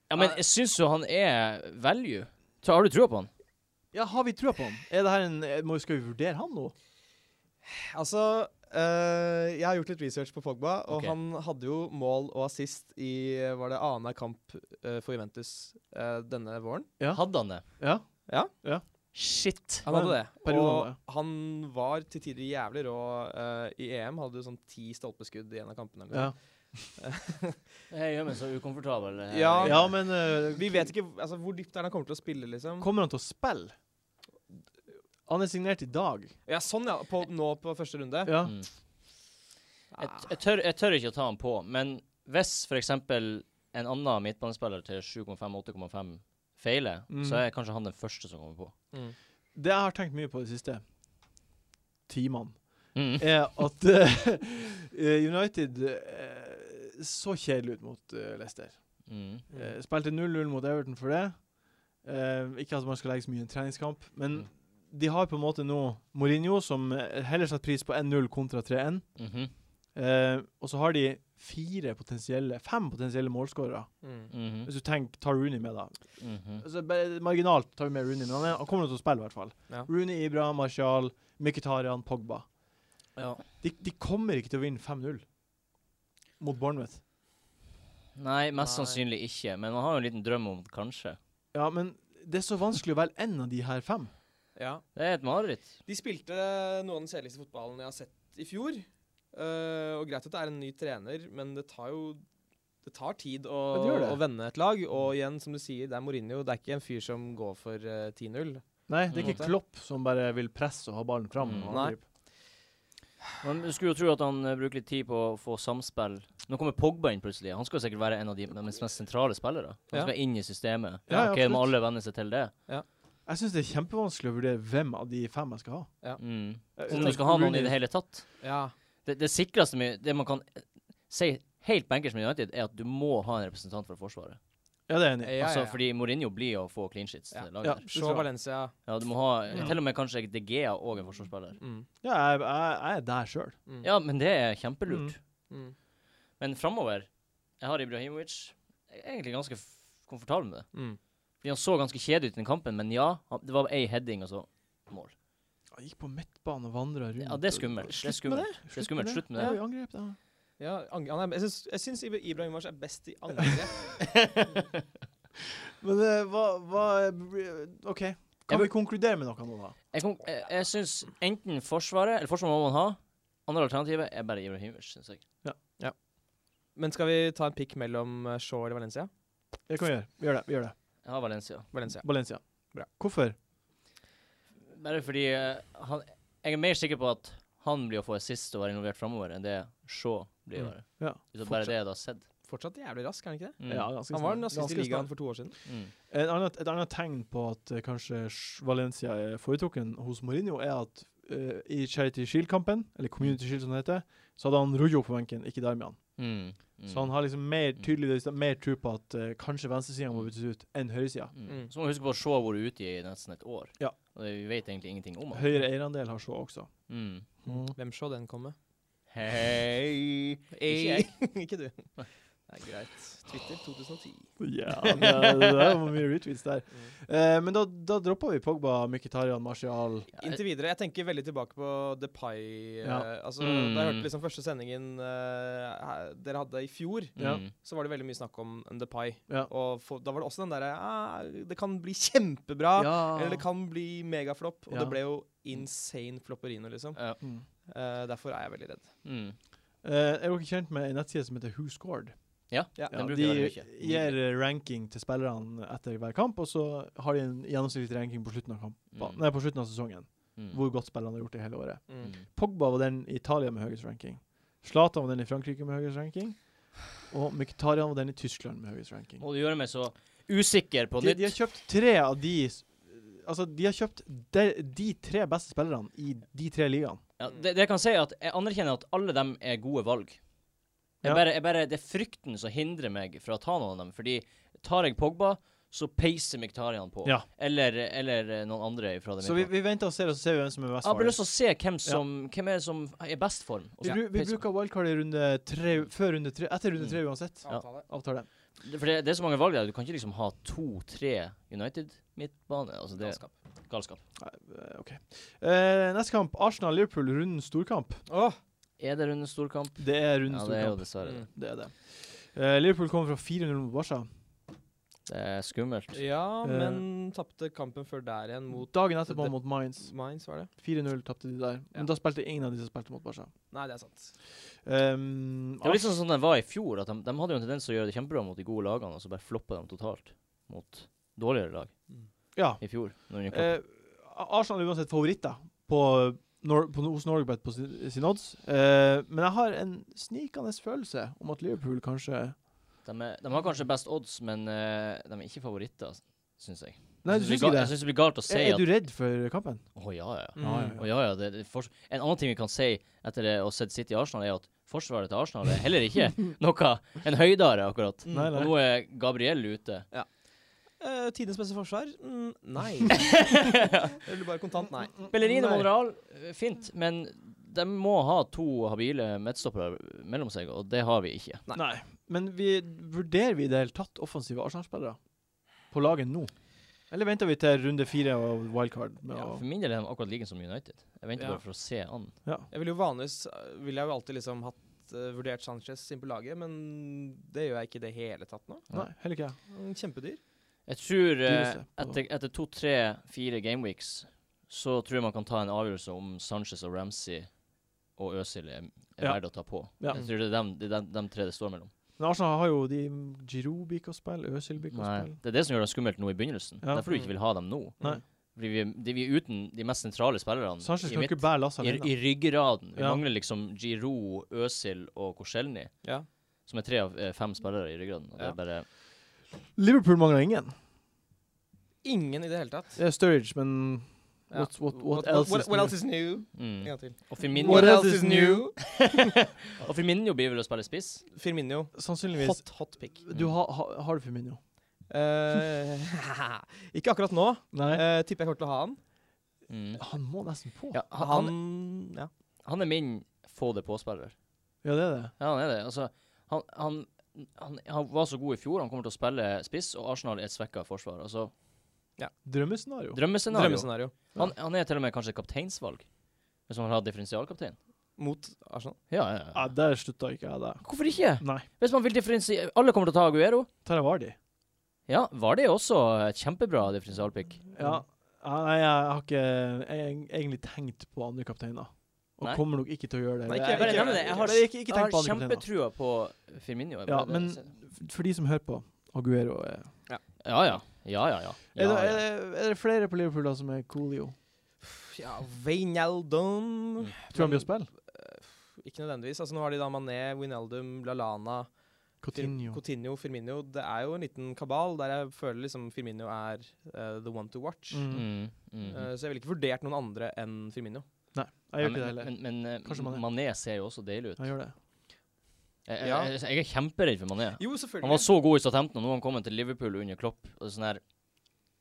[SPEAKER 2] Ja, men jeg syns jo han er value. Tror- Har du trua på han?
[SPEAKER 1] Ja, Har vi trua på han? Er det her en, eh, må, skal vi vurdere han nå?
[SPEAKER 4] Altså, eh, jeg har gjort litt research på Pogba, og
[SPEAKER 2] Ok.
[SPEAKER 4] han hadde jo mål og assist i eh, var det annenhver kamp eh, for Juventus eh, denne våren.
[SPEAKER 1] Ja.
[SPEAKER 2] Hadde han det?
[SPEAKER 1] Ja.
[SPEAKER 2] Shit.
[SPEAKER 4] Han hadde det.
[SPEAKER 1] Perioden hadde det.
[SPEAKER 4] Og han var til tider jævlig rå eh, i EM. Hadde jo sånn ti stolpeskudd i en av kampene. eller noe
[SPEAKER 1] Ja,
[SPEAKER 2] Jeg gjør meg så ukomfortabel. eh,
[SPEAKER 4] Ja.
[SPEAKER 1] ja men eh,
[SPEAKER 4] sånt. Vi vet ikke altså, hvor dypt er det han kommer til å spille, liksom.
[SPEAKER 1] Kommer han til å spille? Han er signert i dag.
[SPEAKER 4] Ja, sånn, ja. På, nå på første runde.
[SPEAKER 1] Ja.
[SPEAKER 2] Mm. Jeg, jeg, tør, jeg tør ikke å ta han på, men hvis f.eks. en annen midtbanespiller til 7,5-8,5 feiler,
[SPEAKER 1] Mm.
[SPEAKER 2] så er kanskje han den første som kommer på.
[SPEAKER 4] Mm.
[SPEAKER 1] Det jeg har tenkt mye på de siste timene,
[SPEAKER 2] Mm.
[SPEAKER 1] er at eh, eh, United eh, så kjedelig ut mot eh, Leicester.
[SPEAKER 2] Mm.
[SPEAKER 1] Eh, spilte 0-0 mot Everton for det. Eh, ikke at man skal legge så mye i en treningskamp, men
[SPEAKER 2] Mm.
[SPEAKER 1] de har på en måte nå Mourinho, som eh, heller setter pris på 1-0 kontra 3-1.
[SPEAKER 2] Mhm.
[SPEAKER 1] Eh, og så har de fire potensielle, fem potensielle målskårere.
[SPEAKER 2] Mhm.
[SPEAKER 1] Hvis du tenker, tar Rooney med, da.
[SPEAKER 2] Mhm.
[SPEAKER 1] Altså, bare marginalt tar vi med Rooney, men han, er, han kommer nå til å spille, i hvert fall.
[SPEAKER 4] Ja.
[SPEAKER 1] Rooney, Ibra, Martial, Mkhitaryan, Pogba.
[SPEAKER 2] Ja.
[SPEAKER 1] De, de kommer ikke til å vinne 5-0 mot Bournemouth.
[SPEAKER 2] Nei, mest
[SPEAKER 4] Nei.
[SPEAKER 2] sannsynlig ikke. Men man har jo en liten drøm om kanskje.
[SPEAKER 1] Ja, men det er så vanskelig å velge én av de her fem.
[SPEAKER 4] Ja.
[SPEAKER 2] Det er et mareritt.
[SPEAKER 4] De spilte noe av den kjedeligste fotballen jeg har sett i fjor. Eh, og greit at det er en ny trener, men det tar jo det tar tid å,
[SPEAKER 1] Ja, det gjør det.
[SPEAKER 4] å vende et lag. Og igjen, som du sier, det er Mourinho. Det er ikke en fyr som går for eh, 10-0.
[SPEAKER 1] Nei, det er
[SPEAKER 2] Mm.
[SPEAKER 1] ikke Klopp som bare vil presse og ha ballen fram.
[SPEAKER 2] Mm.
[SPEAKER 1] og
[SPEAKER 4] Nei.
[SPEAKER 1] angripe.
[SPEAKER 2] Man skulle jo tro at han eh, bruker litt tid på å få samspill. Nå kommer Pogba inn plutselig. Han skal jo sikkert være en av de deres mest sentrale spillere. Han
[SPEAKER 4] Ja.
[SPEAKER 2] skal inn i systemet.
[SPEAKER 1] Ja, ja,
[SPEAKER 2] ok,
[SPEAKER 1] absolutt.
[SPEAKER 2] må alle venne seg til det.
[SPEAKER 1] Jeg syns det er kjempevanskelig å vurdere hvem av de fem jeg skal ha.
[SPEAKER 2] Mm.
[SPEAKER 4] Sånn
[SPEAKER 1] Jeg
[SPEAKER 2] Om du
[SPEAKER 1] synes
[SPEAKER 2] skal ha noen i
[SPEAKER 1] Rooney-
[SPEAKER 2] det hele tatt.
[SPEAKER 4] Ja.
[SPEAKER 2] Det, det sikreste med, det man kan eh, si helt bankers med United, er at du må ha en representant fra Forsvaret.
[SPEAKER 1] Ja, det er jeg enig. i.
[SPEAKER 4] Ja,
[SPEAKER 2] altså,
[SPEAKER 4] ja, ja.
[SPEAKER 2] Fordi Mourinho blir å få clean sheets til
[SPEAKER 4] Ja.
[SPEAKER 2] det laget.
[SPEAKER 1] Ja.
[SPEAKER 2] der.
[SPEAKER 1] Det tror
[SPEAKER 4] Shaw
[SPEAKER 1] jeg.
[SPEAKER 4] Valencia.
[SPEAKER 2] Ja, du må ha eh,
[SPEAKER 1] Mm.
[SPEAKER 2] til og med kanskje De Gea og en forsvarsspiller.
[SPEAKER 4] Mm.
[SPEAKER 1] Ja, jeg, jeg, jeg er der sjøl.
[SPEAKER 4] Mm.
[SPEAKER 2] Ja, men det er kjempelurt.
[SPEAKER 4] Mm.
[SPEAKER 2] Men framover Jeg har Ibrahimovic. Jeg er egentlig ganske f komfortabel med det.
[SPEAKER 4] Mm.
[SPEAKER 2] Fordi Han så ganske kjedelig ut i den kampen, men ja, han- det var ei heading og så mål.
[SPEAKER 1] Jeg gikk på midtbane og vandra rundt.
[SPEAKER 2] Ja, Det er skummelt. Det er
[SPEAKER 1] Slutt med
[SPEAKER 2] skummelt.
[SPEAKER 1] det.
[SPEAKER 2] er skummelt. Slutt med det.
[SPEAKER 1] Ja, vi angrep det.
[SPEAKER 4] Ja, ang- han er, jeg syns- jeg syns Ibra- Ibrahimovic er best i angrep.
[SPEAKER 1] Men eh, hva, hva eh, OK. Kan vi konkludere med noe nå, da?
[SPEAKER 2] Jeg, kom- jeg, jeg syns enten Forsvaret Eller Forsvaret må man ha. Andre alternativet er bare Ibrahimovic, syns jeg.
[SPEAKER 4] Men skal vi ta en pikk mellom eh, Shaw eller Valencia?
[SPEAKER 1] Det kan vi gjøre. Vi gjør det. Vi gjør det.
[SPEAKER 2] Jeg har Valencia.
[SPEAKER 4] Valencia.
[SPEAKER 1] Valencia.
[SPEAKER 4] Bra.
[SPEAKER 1] Hvorfor?
[SPEAKER 2] Bare fordi eh, han, jeg er mer sikker på at han blir å få assist og være involvert framover, enn det Shaw blir å
[SPEAKER 4] Mm.
[SPEAKER 2] være.
[SPEAKER 1] Ja.
[SPEAKER 2] Hvis det bare er det jeg har sett.
[SPEAKER 4] Fortsatt jævlig rask, er han ikke det?
[SPEAKER 2] Mm.
[SPEAKER 1] Ja, ganske
[SPEAKER 4] Han var
[SPEAKER 1] snart.
[SPEAKER 4] den raskeste i
[SPEAKER 1] Ganske
[SPEAKER 4] ligaen
[SPEAKER 1] snart.
[SPEAKER 4] for to år siden.
[SPEAKER 2] Mm.
[SPEAKER 1] Et annet, et annet tegn på at eh, kanskje Sh- Valencia er foretrukken hos Mourinho, er at eh, i Charity Shield-kampen, eller Community Shield som det heter, så hadde han Rujo på benken, ikke Darmian.
[SPEAKER 2] Mm. Mm.
[SPEAKER 1] Så han har liksom mer
[SPEAKER 2] Mm.
[SPEAKER 1] tydelig mer tro på at eh, kanskje venstresida må byttes ut enn høyresida.
[SPEAKER 2] Mm.
[SPEAKER 4] Mm.
[SPEAKER 2] Så må vi huske på at Shaw har vært ute i nesten et år.
[SPEAKER 1] Ja.
[SPEAKER 2] Og det, vi vet egentlig ingenting om han.
[SPEAKER 1] Høyere eierandel har så også.
[SPEAKER 2] Mm.
[SPEAKER 1] Mm.
[SPEAKER 4] Hvem så den komme?
[SPEAKER 2] Hei Ikke jeg.
[SPEAKER 4] ikke du. Det er greit. Twitter 2010.
[SPEAKER 1] Ja, det, det var mye retweets der. Eh, men da, da droppa vi Pogba, Mkhitaryan, Martial
[SPEAKER 4] Inntil videre. Jeg tenker veldig tilbake på The Pie. eh,
[SPEAKER 1] Ja.
[SPEAKER 4] Altså,
[SPEAKER 2] Mm.
[SPEAKER 4] Da jeg hørte liksom første sendingen eh, her- dere hadde i fjor,
[SPEAKER 1] Ja.
[SPEAKER 2] Mm.
[SPEAKER 4] så var det veldig mye snakk om The Pie.
[SPEAKER 1] Ja.
[SPEAKER 4] Og for, da var det også den derre ah, Det kan bli kjempebra,
[SPEAKER 1] Ja.
[SPEAKER 4] eller det kan bli megaflopp. Og
[SPEAKER 1] Ja.
[SPEAKER 4] det ble jo insane flopperino, liksom.
[SPEAKER 2] Ja.
[SPEAKER 1] Mm.
[SPEAKER 4] Eh, derfor er jeg veldig redd.
[SPEAKER 2] Mm.
[SPEAKER 1] Eh, er dere kjent med en nettside som heter Who Scored?
[SPEAKER 2] Ja,
[SPEAKER 4] Ja,
[SPEAKER 2] den bruker
[SPEAKER 1] de
[SPEAKER 2] jeg veldig mye.
[SPEAKER 1] gir eh, ranking til spillerne etter hver kamp, og så har de en gjennomsnittlig ranking på slutten av, kampen,
[SPEAKER 2] Mm.
[SPEAKER 1] nei, på slutten av sesongen.
[SPEAKER 2] Mm.
[SPEAKER 1] Hvor godt spillerne har gjort det hele året.
[SPEAKER 4] Mm.
[SPEAKER 2] Mm.
[SPEAKER 1] Pogba var den i Italia med høyest ranking. Zlatan var den i Frankrike med høyest ranking. Og Mkhitaryan var den i Tyskland med høyest ranking.
[SPEAKER 2] Og det gjør meg så usikker på
[SPEAKER 1] De,
[SPEAKER 2] nytt.
[SPEAKER 1] de har kjøpt tre av de s- Altså, de har kjøpt de, de tre beste spillerne i de tre ligaene.
[SPEAKER 2] Ja, det, det jeg kan si er at jeg anerkjenner at alle dem er gode valg. Jeg
[SPEAKER 1] Ja.
[SPEAKER 2] bare, jeg bare, det er frykten som hindrer meg fra å ta noen av dem. Fordi tar jeg Pogba, så peiser Miktarian på.
[SPEAKER 1] Ja.
[SPEAKER 2] Eller, eller eh, noen andre fra det
[SPEAKER 1] Så vi, vi venter og ser, og så ser vi hvem som er
[SPEAKER 2] Jeg
[SPEAKER 1] best.
[SPEAKER 2] har bare
[SPEAKER 1] farlig.
[SPEAKER 2] lyst til å se hvem som, hvem er det som er i best form. og
[SPEAKER 1] Vi,
[SPEAKER 2] så
[SPEAKER 1] bru- vi
[SPEAKER 2] peiser på.
[SPEAKER 1] bruker wildcard i runde tre, før runde tre, etter runde
[SPEAKER 2] Mm.
[SPEAKER 1] tre uansett.
[SPEAKER 2] Ja.
[SPEAKER 4] Avtale.
[SPEAKER 1] Avtale.
[SPEAKER 2] Det- For det, det er så mange valg der. Du kan ikke liksom ha to-tre United midtbane. Altså det
[SPEAKER 4] Galskap.
[SPEAKER 2] Galskap.
[SPEAKER 1] Eh, OK. Eh, neste kamp, Arsenal-Liverpool, runden storkamp.
[SPEAKER 4] Åh, Mm.
[SPEAKER 2] Er det runde storkamp?
[SPEAKER 1] Det er runden
[SPEAKER 2] Ja, det er jo
[SPEAKER 1] storkamp.
[SPEAKER 2] dessverre det.
[SPEAKER 1] Det er det. Eh, Liverpool kommer fra 400 mot Barca.
[SPEAKER 2] Det er skummelt.
[SPEAKER 4] Ja,
[SPEAKER 1] Eh.
[SPEAKER 4] men tapte kampen før der igjen mot
[SPEAKER 1] Dagen etterpå
[SPEAKER 4] det-
[SPEAKER 1] mot Mines.
[SPEAKER 4] Mainz, var det?
[SPEAKER 1] 4-0 tapte de der.
[SPEAKER 4] Ja.
[SPEAKER 1] Men da spilte ingen av de som spilte mot Barca.
[SPEAKER 4] Nei, det er sant.
[SPEAKER 1] Um,
[SPEAKER 2] Det var litt sånn som den var i fjor. At de, de hadde jo en tendens til å gjøre det kjempebra mot de gode lagene, og så bare floppa de totalt mot dårligere lag
[SPEAKER 4] Mm.
[SPEAKER 1] ja.
[SPEAKER 2] i fjor. Når de kom.
[SPEAKER 1] Eh, Arsenal er uansett favoritter på, Nor på, hos Norgebet på sin, sin odds. Eh, men jeg har en snikende følelse om at Liverpool kanskje
[SPEAKER 2] de, er, de har kanskje best odds, men eh, de er ikke favoritter, syns jeg.
[SPEAKER 1] Nei,
[SPEAKER 2] Jeg
[SPEAKER 1] du syns
[SPEAKER 2] synes blir
[SPEAKER 1] ikke
[SPEAKER 2] ga-
[SPEAKER 1] det?
[SPEAKER 2] Jeg syns det blir galt å si
[SPEAKER 1] Er, er
[SPEAKER 2] at
[SPEAKER 1] du redd for kampen?
[SPEAKER 2] Å ja, ja.
[SPEAKER 1] Ja, ja,
[SPEAKER 4] Mm.
[SPEAKER 2] Å ja, ja det, det er forts- en annen ting vi kan si etter det å ha sett City i Arsenal, er at forsvaret til Arsenal er heller ikke noe en høydare, akkurat.
[SPEAKER 1] Mm. Nei,
[SPEAKER 2] Og
[SPEAKER 1] nei.
[SPEAKER 2] nå er Gabriel ute.
[SPEAKER 4] Uh, Tidenes beste forsvar? Mm, nei. Eller bare kontant nei.
[SPEAKER 1] Mm.
[SPEAKER 2] Bellerino
[SPEAKER 4] Nei.
[SPEAKER 2] Monreal, eh, fint, men de må ha to habile midtstoppere mellom seg, og det har vi ikke.
[SPEAKER 1] Nei. Men vi, vurderer vi i det hele tatt offensive Arsenal-spillere på laget nå? Eller venter vi til runde fire og wildcard? Med
[SPEAKER 2] Ja,
[SPEAKER 1] å-
[SPEAKER 2] for min del er de akkurat like som United. Jeg venter
[SPEAKER 1] Ja.
[SPEAKER 2] bare for å se an.
[SPEAKER 4] Jeg vil jo vanligvis eh, vil jeg jo alltid liksom hatt eh, vurdert Sanchez inn på laget, men det gjør jeg ikke i det hele tatt nå.
[SPEAKER 1] Nei, heller ikke jeg.
[SPEAKER 4] Mm, Kjempedyr.
[SPEAKER 2] Jeg tror eh,
[SPEAKER 1] Dyreste på
[SPEAKER 2] etter, etter to, tre, fire gameweeks så tror jeg man kan ta en avgjørelse om Sanchez og Ramsey og Øzil er, er
[SPEAKER 1] Ja.
[SPEAKER 2] verdt å ta på.
[SPEAKER 1] Ja.
[SPEAKER 2] Jeg
[SPEAKER 4] Mm.
[SPEAKER 2] tror det er dem, det er dem, dem tre det står mellom.
[SPEAKER 1] Men Arsenal har jo de Giroud bikk å spille, Øzil bikk å
[SPEAKER 2] Nei,
[SPEAKER 1] spille.
[SPEAKER 2] det er det som gjør det skummelt nå i begynnelsen.
[SPEAKER 1] Ja.
[SPEAKER 2] Derfor du ikke vil ha dem nå.
[SPEAKER 4] Mm.
[SPEAKER 1] Nei.
[SPEAKER 2] Fordi vi, de, vi er uten de mest sentrale spillerne
[SPEAKER 1] Sanchez
[SPEAKER 2] i,
[SPEAKER 1] kan
[SPEAKER 2] midt,
[SPEAKER 1] ikke bære lasset
[SPEAKER 2] i,
[SPEAKER 1] alene.
[SPEAKER 2] i ryggraden. Vi
[SPEAKER 1] Ja.
[SPEAKER 2] mangler liksom Giroud, Øzil og Korselny,
[SPEAKER 4] Ja.
[SPEAKER 2] som er tre av eh, fem spillere i ryggraden. Og det
[SPEAKER 4] Ja.
[SPEAKER 2] er bare
[SPEAKER 1] Liverpool mangler ingen.
[SPEAKER 4] Ingen i det hele tatt.
[SPEAKER 1] Det er Sturridge, men
[SPEAKER 4] Ja.
[SPEAKER 1] what, what, what, else
[SPEAKER 4] what,
[SPEAKER 1] is
[SPEAKER 4] what
[SPEAKER 1] new?
[SPEAKER 4] else is new?
[SPEAKER 2] mm.
[SPEAKER 4] En gang til.
[SPEAKER 2] Og Firmino,
[SPEAKER 1] What else is new?
[SPEAKER 2] og Firmino blir vel å spille spiss?
[SPEAKER 4] Firmino.
[SPEAKER 1] Sannsynligvis
[SPEAKER 4] Hot, hot pick.
[SPEAKER 1] Du ha, ha, Har du Firmino?
[SPEAKER 4] Eh, ikke akkurat nå.
[SPEAKER 1] Nei.
[SPEAKER 4] Eh, tipper jeg kommer til å ha han.
[SPEAKER 2] Mm.
[SPEAKER 1] Han må nesten på.
[SPEAKER 2] Ja, han,
[SPEAKER 4] Han,
[SPEAKER 2] han,
[SPEAKER 4] ja.
[SPEAKER 2] han er min få det på-spiller.
[SPEAKER 1] Ja, det er det.
[SPEAKER 2] Ja, han er det. Altså, han, han, han, han var så god i fjor, han kommer til å spille spiss, og Arsenal er et svekka forsvar. Altså,
[SPEAKER 1] Drømmescenario.
[SPEAKER 2] drømmescenario.
[SPEAKER 4] Drømmescenario.
[SPEAKER 2] Han, han er til og med kanskje kapteinsvalg, hvis man har differensialkaptein.
[SPEAKER 4] Mot Arsenal.
[SPEAKER 2] Ja, ja,
[SPEAKER 1] Ja,
[SPEAKER 2] ja.
[SPEAKER 1] Der slutta ikke jeg, der.
[SPEAKER 2] Hvorfor ikke?
[SPEAKER 1] Nei.
[SPEAKER 2] Hvis man vil differensiere Alle kommer til å ta Aguero.
[SPEAKER 1] Der var de.
[SPEAKER 2] Ja, var det også et kjempebra differensialpick?
[SPEAKER 1] Ja. Ja, Nei, jeg har ikke eg- egentlig tenkt på andre kapteiner. Og
[SPEAKER 2] Nei.
[SPEAKER 1] kommer nok ikke til å gjøre det.
[SPEAKER 4] Nei, ikke
[SPEAKER 1] Jeg-
[SPEAKER 4] jeg bare
[SPEAKER 1] jeg-
[SPEAKER 4] nevner det. Jeg
[SPEAKER 2] har-
[SPEAKER 1] jeg- ikke, ikke
[SPEAKER 2] Jeg har
[SPEAKER 1] tenkt på andre kapteiner.
[SPEAKER 2] kjempetrua på Firmino. Jeg
[SPEAKER 1] Ja,
[SPEAKER 2] bare-
[SPEAKER 1] men for de som hører på, Aguero er
[SPEAKER 2] ja, ja. Ja, ja, ja.
[SPEAKER 1] Er, det,
[SPEAKER 2] ja,
[SPEAKER 1] er,
[SPEAKER 2] ja.
[SPEAKER 1] det, er det flere på Liverpool da som er Coolio?
[SPEAKER 4] Ja, Wijnaldum.
[SPEAKER 2] Mm.
[SPEAKER 1] Tror han blir å spille?
[SPEAKER 4] Ikke nødvendigvis. Altså, nå har de da Mané, Wijnaldum, Lallana, Fir-
[SPEAKER 1] Coutinho.
[SPEAKER 4] Coutinho, Firmino. Det er jo en liten kabal der jeg føler liksom Firmino er eh, the one to watch.
[SPEAKER 1] Mm.
[SPEAKER 2] Mm, mm.
[SPEAKER 4] Eh, så jeg ville ikke vurdert noen andre enn Firmino.
[SPEAKER 1] Jeg gjør
[SPEAKER 2] Ja,
[SPEAKER 1] ikke det
[SPEAKER 2] men-
[SPEAKER 1] heller.
[SPEAKER 2] Men, men, eh,
[SPEAKER 1] Kanskje Mané.
[SPEAKER 2] Mané ser jo også deilig ut.
[SPEAKER 1] Jeg gjør det.
[SPEAKER 2] Jeg,
[SPEAKER 4] Ja.
[SPEAKER 2] jeg, jeg er kjemperedd for Mané.
[SPEAKER 4] Jo,
[SPEAKER 2] Han var
[SPEAKER 4] selvfølgelig.
[SPEAKER 2] så god i Southampton, og nå har han kommet til Liverpool under Klopp. Og det er sånn her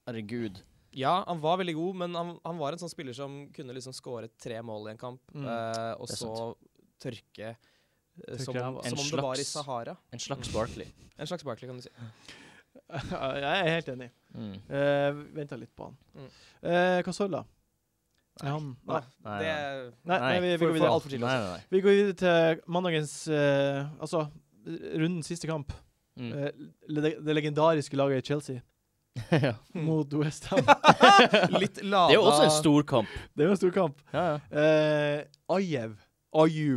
[SPEAKER 2] Herregud.
[SPEAKER 4] ja, han var veldig god, men han, han var en sånn spiller som kunne liksom skåre tre mål i en kamp,
[SPEAKER 1] Mm.
[SPEAKER 4] eh, og
[SPEAKER 2] Det er
[SPEAKER 4] så tørke eh,
[SPEAKER 1] Tørke
[SPEAKER 4] som om,
[SPEAKER 1] ræva.
[SPEAKER 4] som
[SPEAKER 2] En
[SPEAKER 4] om det var i
[SPEAKER 2] slags-
[SPEAKER 4] Sahara.
[SPEAKER 2] En slags Barkley.
[SPEAKER 4] En slags Barkley, kan du si.
[SPEAKER 1] jeg er helt enig.
[SPEAKER 2] Mm.
[SPEAKER 1] Uh, Venta litt på han.
[SPEAKER 4] Mm.
[SPEAKER 1] Eh, Casola. Er han Nei.
[SPEAKER 2] Nei,
[SPEAKER 4] det,
[SPEAKER 1] Nei, nei, vi, vi
[SPEAKER 4] for,
[SPEAKER 1] går
[SPEAKER 4] for
[SPEAKER 1] videre.
[SPEAKER 4] alt for tidlig.
[SPEAKER 2] Nei, nei, nei.
[SPEAKER 1] Vi går videre til mandagens eh, Altså, rundens siste kamp.
[SPEAKER 2] Mm.
[SPEAKER 1] Eh, le det legendariske laget Chelsea
[SPEAKER 2] ja.
[SPEAKER 1] mot West Ham.
[SPEAKER 4] også. Litt lada
[SPEAKER 2] Det er jo også en storkamp.
[SPEAKER 1] det var en stor kamp.
[SPEAKER 2] Ja, ja.
[SPEAKER 1] Uh, Ajev. Aju.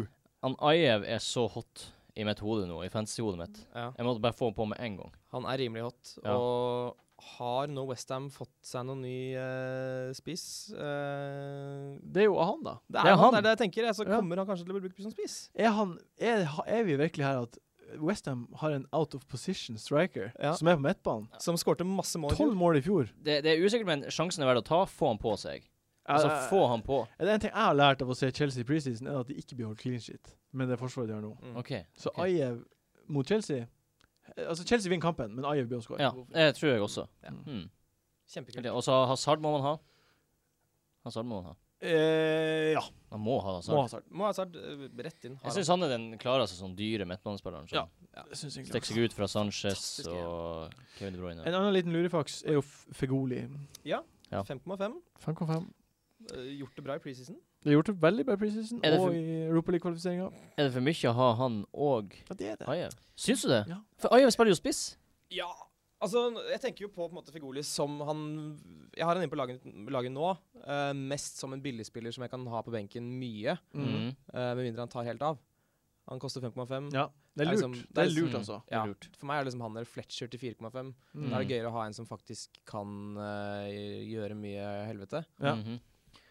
[SPEAKER 2] Han Ajev er så hot i mitt hode nå, i fantasy-hodet mitt.
[SPEAKER 4] ja.
[SPEAKER 2] Jeg måtte bare få ham på med en gang.
[SPEAKER 4] Han er rimelig hot.
[SPEAKER 2] Ja.
[SPEAKER 4] Og har nå Westham fått seg noen ny eh, spiss? Eh,
[SPEAKER 1] Det er jo han, da.
[SPEAKER 4] det, er
[SPEAKER 2] Det er
[SPEAKER 4] han,
[SPEAKER 2] han.
[SPEAKER 4] det er det jeg tenker. jeg, Så
[SPEAKER 1] Ja.
[SPEAKER 4] kommer han kanskje til å bli brukt som spiss.
[SPEAKER 1] Er, han, er, er vi virkelig her at Westham har en out of position striker
[SPEAKER 4] Ja.
[SPEAKER 1] som er på midtbanen?
[SPEAKER 4] Som skårte masse mål. i fjor.
[SPEAKER 1] Tolv mål i fjor.
[SPEAKER 2] Det, det er usikkert, men sjansen er verdt å ta. Få han på seg. Altså,
[SPEAKER 1] Eh,
[SPEAKER 2] få han på.
[SPEAKER 1] Er det en ting jeg har lært av å se Chelsea i preseason, er at de ikke blir holdt clean shit med det forsvaret de har nå.
[SPEAKER 4] Mm.
[SPEAKER 2] OK.
[SPEAKER 1] Så
[SPEAKER 2] Ok.
[SPEAKER 1] Ajev mot Chelsea eh, Altså, Chelsea vinner kampen, men Ajev blir å skåre.
[SPEAKER 2] Ja, det tror jeg også.
[SPEAKER 4] Ja.
[SPEAKER 2] Mm.
[SPEAKER 4] Kjempekult.
[SPEAKER 2] Og så Hazard må man ha. Hazard må man ha.
[SPEAKER 1] Eh, ja.
[SPEAKER 2] Man må ha
[SPEAKER 1] Må ha
[SPEAKER 2] Hazard.
[SPEAKER 1] start.
[SPEAKER 4] Må ha Hazard eh, rett inn.
[SPEAKER 2] Jeg
[SPEAKER 4] Har
[SPEAKER 2] syns han er den klareste sånn dyre midtbanespilleren. som
[SPEAKER 1] Ja. Jeg synes egentlig
[SPEAKER 2] Stikker seg ut fra Sanchez
[SPEAKER 4] Fantastisk, ja.
[SPEAKER 2] og Kevin De Bruyne.
[SPEAKER 1] En annen liten lurefaks er jo F- Fegoli.
[SPEAKER 2] Ja.
[SPEAKER 4] han. 5,5.
[SPEAKER 1] 5,5.
[SPEAKER 4] Eh, gjort det bra i preseason.
[SPEAKER 1] Det er gjort det veldig bra i preseason
[SPEAKER 2] Er det
[SPEAKER 1] og
[SPEAKER 2] for-
[SPEAKER 1] i Europa League-kvalifiseringa.
[SPEAKER 2] Er det for mye å ha han og
[SPEAKER 1] Ja, det er det.
[SPEAKER 2] Ajev? Syns du det?
[SPEAKER 1] Ja.
[SPEAKER 2] For Ajev spiller jo spiss.
[SPEAKER 4] Ja, altså jeg tenker jo på på en måte Figoli som han Jeg har han inne på laget, laget nå. eh, mest som en billigspiller som jeg kan ha på benken mye.
[SPEAKER 1] Mm.
[SPEAKER 2] Mm.
[SPEAKER 4] eh, med mindre han tar helt av. Han koster 5,5.
[SPEAKER 1] Ja. Det er
[SPEAKER 4] Det er
[SPEAKER 1] lurt.
[SPEAKER 4] liksom-
[SPEAKER 1] Det er
[SPEAKER 4] det er-
[SPEAKER 1] lurt,
[SPEAKER 2] mm.
[SPEAKER 1] altså.
[SPEAKER 2] Det er
[SPEAKER 4] Ja.
[SPEAKER 2] lurt.
[SPEAKER 4] For meg er liksom han der Fletcher til 4,5. Da er
[SPEAKER 2] Mm.
[SPEAKER 4] det gøyere å ha en som faktisk kan eh, gjøre mye helvete.
[SPEAKER 1] Ja.
[SPEAKER 2] Mhm.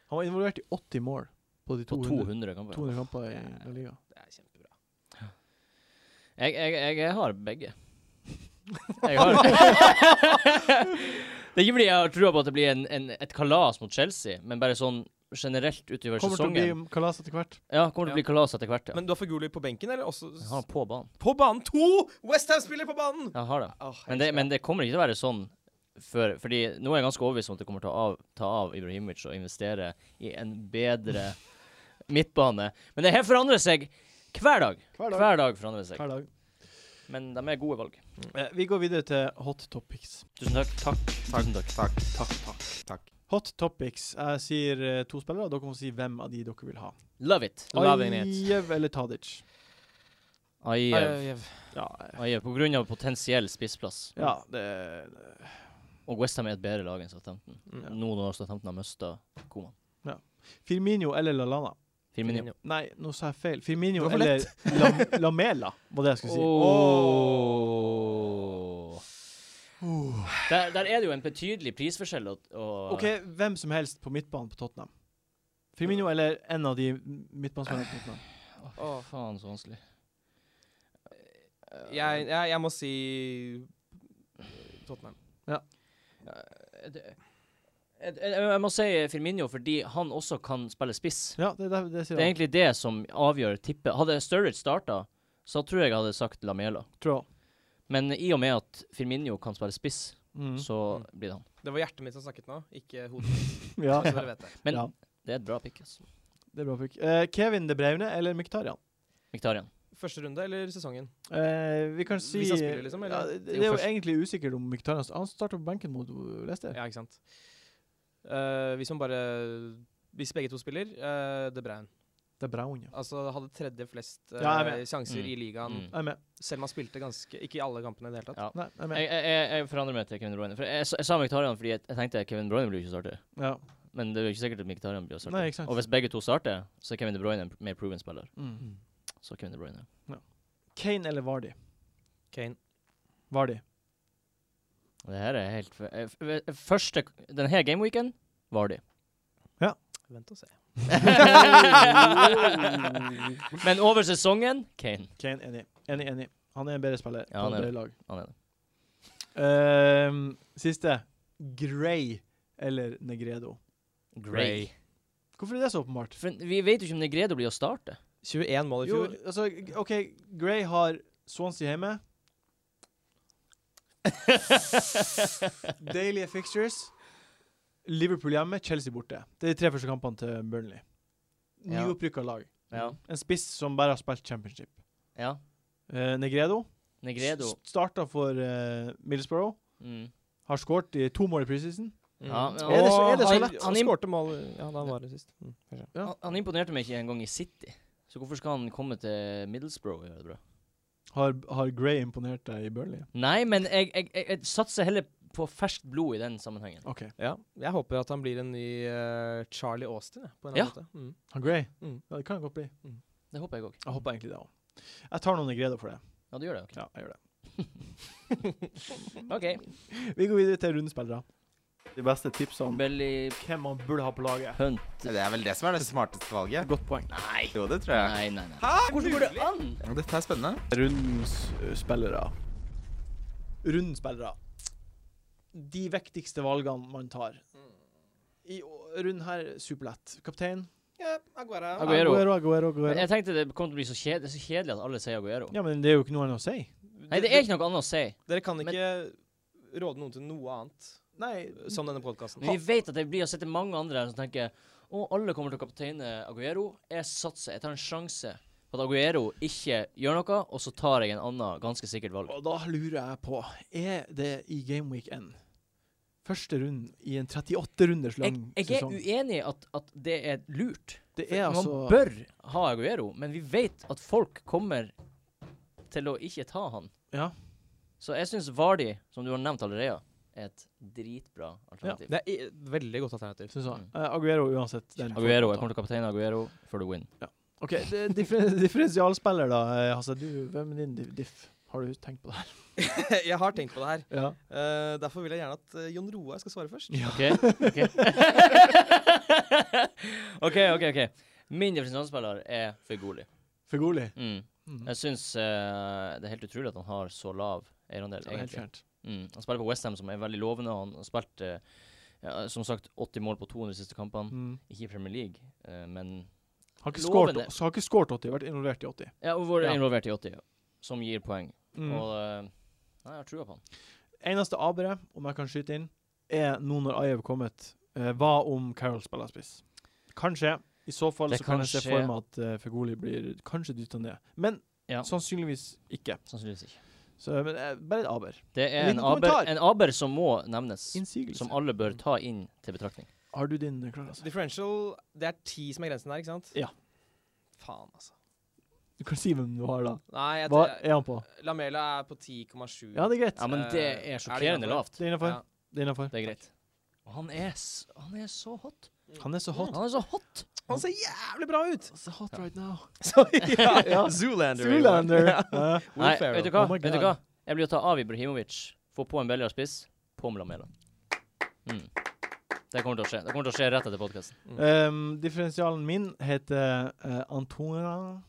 [SPEAKER 1] Han var involvert i 80 mål på de
[SPEAKER 2] På
[SPEAKER 1] 200,
[SPEAKER 2] 200 kamper.
[SPEAKER 1] 200 kamper i La Liga.
[SPEAKER 4] Det er kjempebra.
[SPEAKER 2] Jeg, jeg, jeg har begge. Jeg har det er ikke fordi jeg har trua på at det blir en, en, et kalas mot Chelsea, men bare sånn generelt utover
[SPEAKER 1] Kommer til å
[SPEAKER 2] sesongen
[SPEAKER 1] bli kalas etter hvert.
[SPEAKER 2] Ja, kommer til å bli kalas etter hvert, ja.
[SPEAKER 4] Men du har Fuguli på benken, eller? Også
[SPEAKER 2] Jeg har han på banen.
[SPEAKER 4] På banen! To Westham-spillere på banen!
[SPEAKER 2] Jeg har det.
[SPEAKER 4] Åh, jeg
[SPEAKER 2] Men det,
[SPEAKER 4] elsker
[SPEAKER 2] men det kommer ikke til å være sånn før Fordi nå er jeg ganske overbevist om at de kommer til å av, ta av Ibrahimovic og investere i en bedre midtbane. Men det her forandrer seg hver dag.
[SPEAKER 1] Hver dag.
[SPEAKER 2] Hver dag forandrer det seg.
[SPEAKER 1] Hver dag.
[SPEAKER 2] Men de er gode valg.
[SPEAKER 1] Eh, Vi går videre til hot topics.
[SPEAKER 2] Tusen takk. Takk. Tusen takk.
[SPEAKER 4] Takk, takk, takk. takk.
[SPEAKER 1] Hot topics. Jeg sier eh, to spillere, og dere må si hvem av de dere vil ha.
[SPEAKER 2] Love it.
[SPEAKER 4] Loving it.
[SPEAKER 1] Ajev eller Tadic?
[SPEAKER 2] Ajev.
[SPEAKER 4] Ajev.
[SPEAKER 1] Ja,
[SPEAKER 2] Ajev på grunn av potensiell spissplass.
[SPEAKER 1] ja det
[SPEAKER 2] Og Westham er et bedre lag enn Southampton.
[SPEAKER 4] Mm.
[SPEAKER 2] Nå når Southampton har mista Koman.
[SPEAKER 1] Firmino eller Lalana?
[SPEAKER 2] Firmino.
[SPEAKER 1] Nei, nå sa jeg feil. Firmino
[SPEAKER 4] Det var for
[SPEAKER 1] eller Lam Lamela, var det jeg skulle si.
[SPEAKER 2] Åh. Der, der er det jo en betydelig prisforskjell. Og, og
[SPEAKER 1] OK, hvem som helst på midtbanen på Tottenham. Firmino eller en av de midtbanespillerne på Tottenham.
[SPEAKER 4] Åh.
[SPEAKER 2] Faen, så vanskelig.
[SPEAKER 4] Jeg, jeg, jeg må si Tottenham.
[SPEAKER 2] Eh, det- eh, eh, Jeg må si Firmino fordi han også kan spille spiss.
[SPEAKER 1] Ja, det, det, det sier
[SPEAKER 2] Det er
[SPEAKER 1] jeg.
[SPEAKER 2] egentlig det som avgjør tippet. Hadde Sturridge starta, så tror jeg jeg hadde sagt Lamela.
[SPEAKER 1] Tror jeg.
[SPEAKER 2] Men i og med at Firmino kan spille spiss,
[SPEAKER 1] Mm.
[SPEAKER 2] så blir det han.
[SPEAKER 4] Det var hjertet mitt som snakket nå, ikke hodet. mitt,
[SPEAKER 1] Ja,
[SPEAKER 4] så dere vet det.
[SPEAKER 2] Men
[SPEAKER 1] Ja.
[SPEAKER 2] det er et bra pick. Altså.
[SPEAKER 1] det er bra pick. Eh, Kevin De Braune eller Mkhitaryan?
[SPEAKER 2] Miktarian.
[SPEAKER 4] Første runde eller sesongen?
[SPEAKER 1] Eh, vi kan si
[SPEAKER 4] Hvis han spiller, liksom, eller?
[SPEAKER 1] ja, det, det
[SPEAKER 4] Jo,
[SPEAKER 1] er jo
[SPEAKER 4] først.
[SPEAKER 1] egentlig usikkert om Mkhitaryan Han starter på benken mot Leicester.
[SPEAKER 4] Ja, ikke sant. Eh, hvis man bare Hvis begge to spiller, uh, De Bruyne.
[SPEAKER 1] Det er Braune.
[SPEAKER 4] Altså hadde tredje flest eh,
[SPEAKER 1] Ja, jeg er med.
[SPEAKER 4] sjanser
[SPEAKER 2] Mm.
[SPEAKER 4] i ligaen,
[SPEAKER 2] Mm.
[SPEAKER 1] Jeg er med.
[SPEAKER 4] selv om han spilte ganske Ikke i alle kampene i det hele tatt.
[SPEAKER 2] Ja.
[SPEAKER 1] Nei, jeg er
[SPEAKER 2] Jeg,
[SPEAKER 1] med.
[SPEAKER 2] jeg, jeg- jeg forandrer meg til Kevin De Bruyne. For jeg, jeg sa Miktarian fordi jeg, jeg tenkte Kevin De Bruyne blir jo ikke starter.
[SPEAKER 1] Ja.
[SPEAKER 2] Men det er jo ikke sikkert at Miktarian blir å starte.
[SPEAKER 1] Nei, ikke sant.
[SPEAKER 2] Og hvis begge to starter, så er Kevin De Bruyne en mer proven spiller.
[SPEAKER 1] Mm.
[SPEAKER 2] Så Kevin De Bruyne.
[SPEAKER 1] Kane eller Vardy?
[SPEAKER 4] Kane.
[SPEAKER 1] Vardy.
[SPEAKER 2] Det her er helt f- eh, f- eh, Første Denne gameweeken var de.
[SPEAKER 4] Vent og se.
[SPEAKER 2] Men over sesongen Kane.
[SPEAKER 1] Kane, enig. Enig, enig. Han er en bedre spiller på
[SPEAKER 2] Ja, han er
[SPEAKER 1] et bedre lag.
[SPEAKER 2] Han er det.
[SPEAKER 1] Ehm, siste. Gray eller Negredo?
[SPEAKER 2] Gray.
[SPEAKER 1] Hvorfor er det så åpenbart?
[SPEAKER 2] For vi vet jo ikke om Negredo blir å starte.
[SPEAKER 4] 21 mål i
[SPEAKER 1] Jo,
[SPEAKER 4] fjor.
[SPEAKER 1] altså, g- OK, Gray har Swansea hjemme. Deilige fixtures. Liverpool hjemme, Chelsea borte. Det er de tre første kampene til Burnley.
[SPEAKER 2] Ja.
[SPEAKER 1] Nyopprykka lag.
[SPEAKER 2] Ja.
[SPEAKER 1] En spiss som bare har spilt championship.
[SPEAKER 2] ja.
[SPEAKER 1] Eh, Negredo
[SPEAKER 2] Negredo.
[SPEAKER 1] starta for eh, Middlesbrough.
[SPEAKER 2] Mm.
[SPEAKER 1] Har skåret i to mål i preseason.
[SPEAKER 4] mm.
[SPEAKER 2] Ja, ja.
[SPEAKER 1] Er det så- er det så
[SPEAKER 4] han-
[SPEAKER 1] lett?
[SPEAKER 4] Han
[SPEAKER 2] Han-
[SPEAKER 4] skårte mål Ja, da han var det sist. Mm, kanskje.
[SPEAKER 1] Ja.
[SPEAKER 2] Han, han imponerte meg ikke engang i City. Så hvorfor skal han komme til Middlesbrough og gjøre det bra?
[SPEAKER 1] Har, har Gray imponert deg i Burnley?
[SPEAKER 2] Nei, men jeg, jeg, jeg, jeg satser heller på ferskt blod i den sammenhengen.
[SPEAKER 1] OK.
[SPEAKER 4] ja. Jeg håper at han blir en ny eh, Charlie Austin, jeg, på en
[SPEAKER 2] Ja.
[SPEAKER 4] annen måte. Mm.
[SPEAKER 1] Han Gray?
[SPEAKER 4] Mm.
[SPEAKER 1] Ja, det kan godt bli.
[SPEAKER 2] Det håper jeg òg.
[SPEAKER 1] Jeg håper egentlig det òg. Jeg tar noen Negredo for det.
[SPEAKER 2] Ja, du gjør det? ok.
[SPEAKER 1] Ja, jeg gjør det.
[SPEAKER 2] OK.
[SPEAKER 1] Vi går videre til rundespillere. De beste tipsene
[SPEAKER 2] Belly
[SPEAKER 1] hvem man burde ha på laget.
[SPEAKER 2] Hunt.
[SPEAKER 3] Det er vel det som er det smarteste valget.
[SPEAKER 1] Godt poeng.
[SPEAKER 2] Nei.
[SPEAKER 3] Jo, det tror jeg.
[SPEAKER 2] Nei, nei, nei.
[SPEAKER 4] Ah,
[SPEAKER 2] Hvordan går det an?
[SPEAKER 3] Dette er spennende.
[SPEAKER 1] Rundens eh, spillere. Rundens spillere. De viktigste valgene man tar. I å- runden her superlett. Kaptein
[SPEAKER 4] Ja, Aguera.
[SPEAKER 2] Agu- Aguero.
[SPEAKER 1] Aguero, Aguero,
[SPEAKER 2] Men
[SPEAKER 1] Aguero.
[SPEAKER 2] Jeg tenkte det kom til å bli så kjedelig, det er så kjedelig at alle sier Aguero.
[SPEAKER 1] Ja, men det er jo ikke noe annet å si.
[SPEAKER 2] Nei, det er ikke noe annet å si.
[SPEAKER 4] Dere kan
[SPEAKER 2] Men-
[SPEAKER 4] ikke råde noen til noe annet eh,
[SPEAKER 1] Nei,
[SPEAKER 4] som denne podkasten.
[SPEAKER 2] Men vi vet at det blir å sitte mange andre her som tenker å, alle kommer til å kapteine Aguero. Jeg satser, jeg tar en sjanse på at Aguero ikke gjør noe, og så tar jeg en annen ganske sikkert valg.
[SPEAKER 1] og da lurer jeg på Er det i Gameweek 1? Første runden i en 38-runders
[SPEAKER 2] Jeg,
[SPEAKER 1] lang
[SPEAKER 2] jeg er
[SPEAKER 1] sesong?
[SPEAKER 2] uenig i at, at det er lurt.
[SPEAKER 1] Det er altså
[SPEAKER 2] Man bør ha Aguero, men vi vet at folk kommer til å ikke ta han.
[SPEAKER 1] Ja.
[SPEAKER 2] Så jeg syns Vardi, som du har nevnt allerede, er et dritbra alternativ.
[SPEAKER 4] Det er i- et veldig godt alternativ.
[SPEAKER 1] Synes jeg.
[SPEAKER 2] Mm.
[SPEAKER 1] Eh, Aguero uansett. den får
[SPEAKER 2] Aguero,
[SPEAKER 1] ta.
[SPEAKER 2] jeg kommer til å kapteine Aguero for the win.
[SPEAKER 1] OK, det- differ differensialspiller, da. eh, Hasse, du, hvem er din diff- diff? Har du tenkt på det her?
[SPEAKER 4] jeg har tenkt på det her.
[SPEAKER 1] Ja.
[SPEAKER 4] Eh, derfor vil jeg gjerne at eh, Jon Roar skal svare først.
[SPEAKER 2] OK? OK, OK. ok, ok. Min definisjonsspiller er Figoli.
[SPEAKER 1] Figoli.
[SPEAKER 2] Mm.
[SPEAKER 1] Mm.
[SPEAKER 2] Jeg syns eh, det er helt utrolig at han har så lav eierandel,
[SPEAKER 1] det er helt
[SPEAKER 2] egentlig.
[SPEAKER 1] fjernt.
[SPEAKER 2] Mm. Han spiller på Westham, som er veldig lovende. og Han har spilt eh, ja, som sagt 80 mål på 200 siste kampene.
[SPEAKER 1] Mm.
[SPEAKER 2] Ikke i Premier League, eh, men
[SPEAKER 1] Har ikke
[SPEAKER 2] Loven
[SPEAKER 1] skåret
[SPEAKER 2] er-
[SPEAKER 1] så har ikke skåret 80, vært involvert i 80.
[SPEAKER 2] Ja, og vært
[SPEAKER 1] Ja.
[SPEAKER 2] involvert i 80, ja, som gir poeng.
[SPEAKER 1] Mm.
[SPEAKER 2] Og eh, nei, jeg har trua på han.
[SPEAKER 1] Eneste aberet, om jeg kan skyte inn, er nå når Ayev kommet, eh, hva om Carol spiller spiss? Kan skje. I så fall
[SPEAKER 2] Det
[SPEAKER 1] så kan
[SPEAKER 2] kan
[SPEAKER 1] jeg se
[SPEAKER 2] skje.
[SPEAKER 1] for meg at uh, Fegoli blir kanskje dytta ned. Men
[SPEAKER 2] Ja.
[SPEAKER 1] sannsynligvis ikke.
[SPEAKER 2] Sannsynligvis ikke.
[SPEAKER 1] Så, men eh, bare et aber.
[SPEAKER 2] Det
[SPEAKER 1] En
[SPEAKER 2] er en
[SPEAKER 1] liten
[SPEAKER 2] aber,
[SPEAKER 1] kommentar.
[SPEAKER 2] en aber som må nevnes,
[SPEAKER 1] Innsigelse.
[SPEAKER 2] som alle bør ta inn til betraktning.
[SPEAKER 1] Har du din, eh, Klaras?
[SPEAKER 4] Differential Det er ti som er grensen der, ikke sant?
[SPEAKER 1] Ja.
[SPEAKER 4] Faen, altså.
[SPEAKER 1] Du kan si hvem du har, da.
[SPEAKER 4] Nei, jeg
[SPEAKER 1] Hva
[SPEAKER 4] tror-
[SPEAKER 1] er han på?
[SPEAKER 4] Lamela er på 10,7.
[SPEAKER 1] Ja, det er greit.
[SPEAKER 2] Ja, men det
[SPEAKER 4] Eh, er
[SPEAKER 2] er
[SPEAKER 4] det
[SPEAKER 2] sjokkerende
[SPEAKER 4] innenfor?
[SPEAKER 2] lavt.
[SPEAKER 1] Det er innafor.
[SPEAKER 4] Ja.
[SPEAKER 1] Det er innafor.
[SPEAKER 2] Det er greit. Og han er, s- han er så hot.
[SPEAKER 1] Han er så hot.
[SPEAKER 2] Han er så hot!
[SPEAKER 4] Han ser jævlig bra ut!
[SPEAKER 1] Så hot right now.
[SPEAKER 4] Så, ja,
[SPEAKER 1] Ja.
[SPEAKER 4] Zoolander.
[SPEAKER 1] Zoolander. Ja.
[SPEAKER 4] Will
[SPEAKER 2] Nei,
[SPEAKER 4] Ferrell.
[SPEAKER 2] vet du hva?
[SPEAKER 1] Oh my
[SPEAKER 2] vet du hva?
[SPEAKER 1] God.
[SPEAKER 2] Jeg blir å ta av Ibrahimovic, få på en billigere spiss, på med Lamela. Mm. Det kommer til å skje. Det kommer til å skje rett etter podkasten.
[SPEAKER 1] Um, differensialen min heter uh, Antona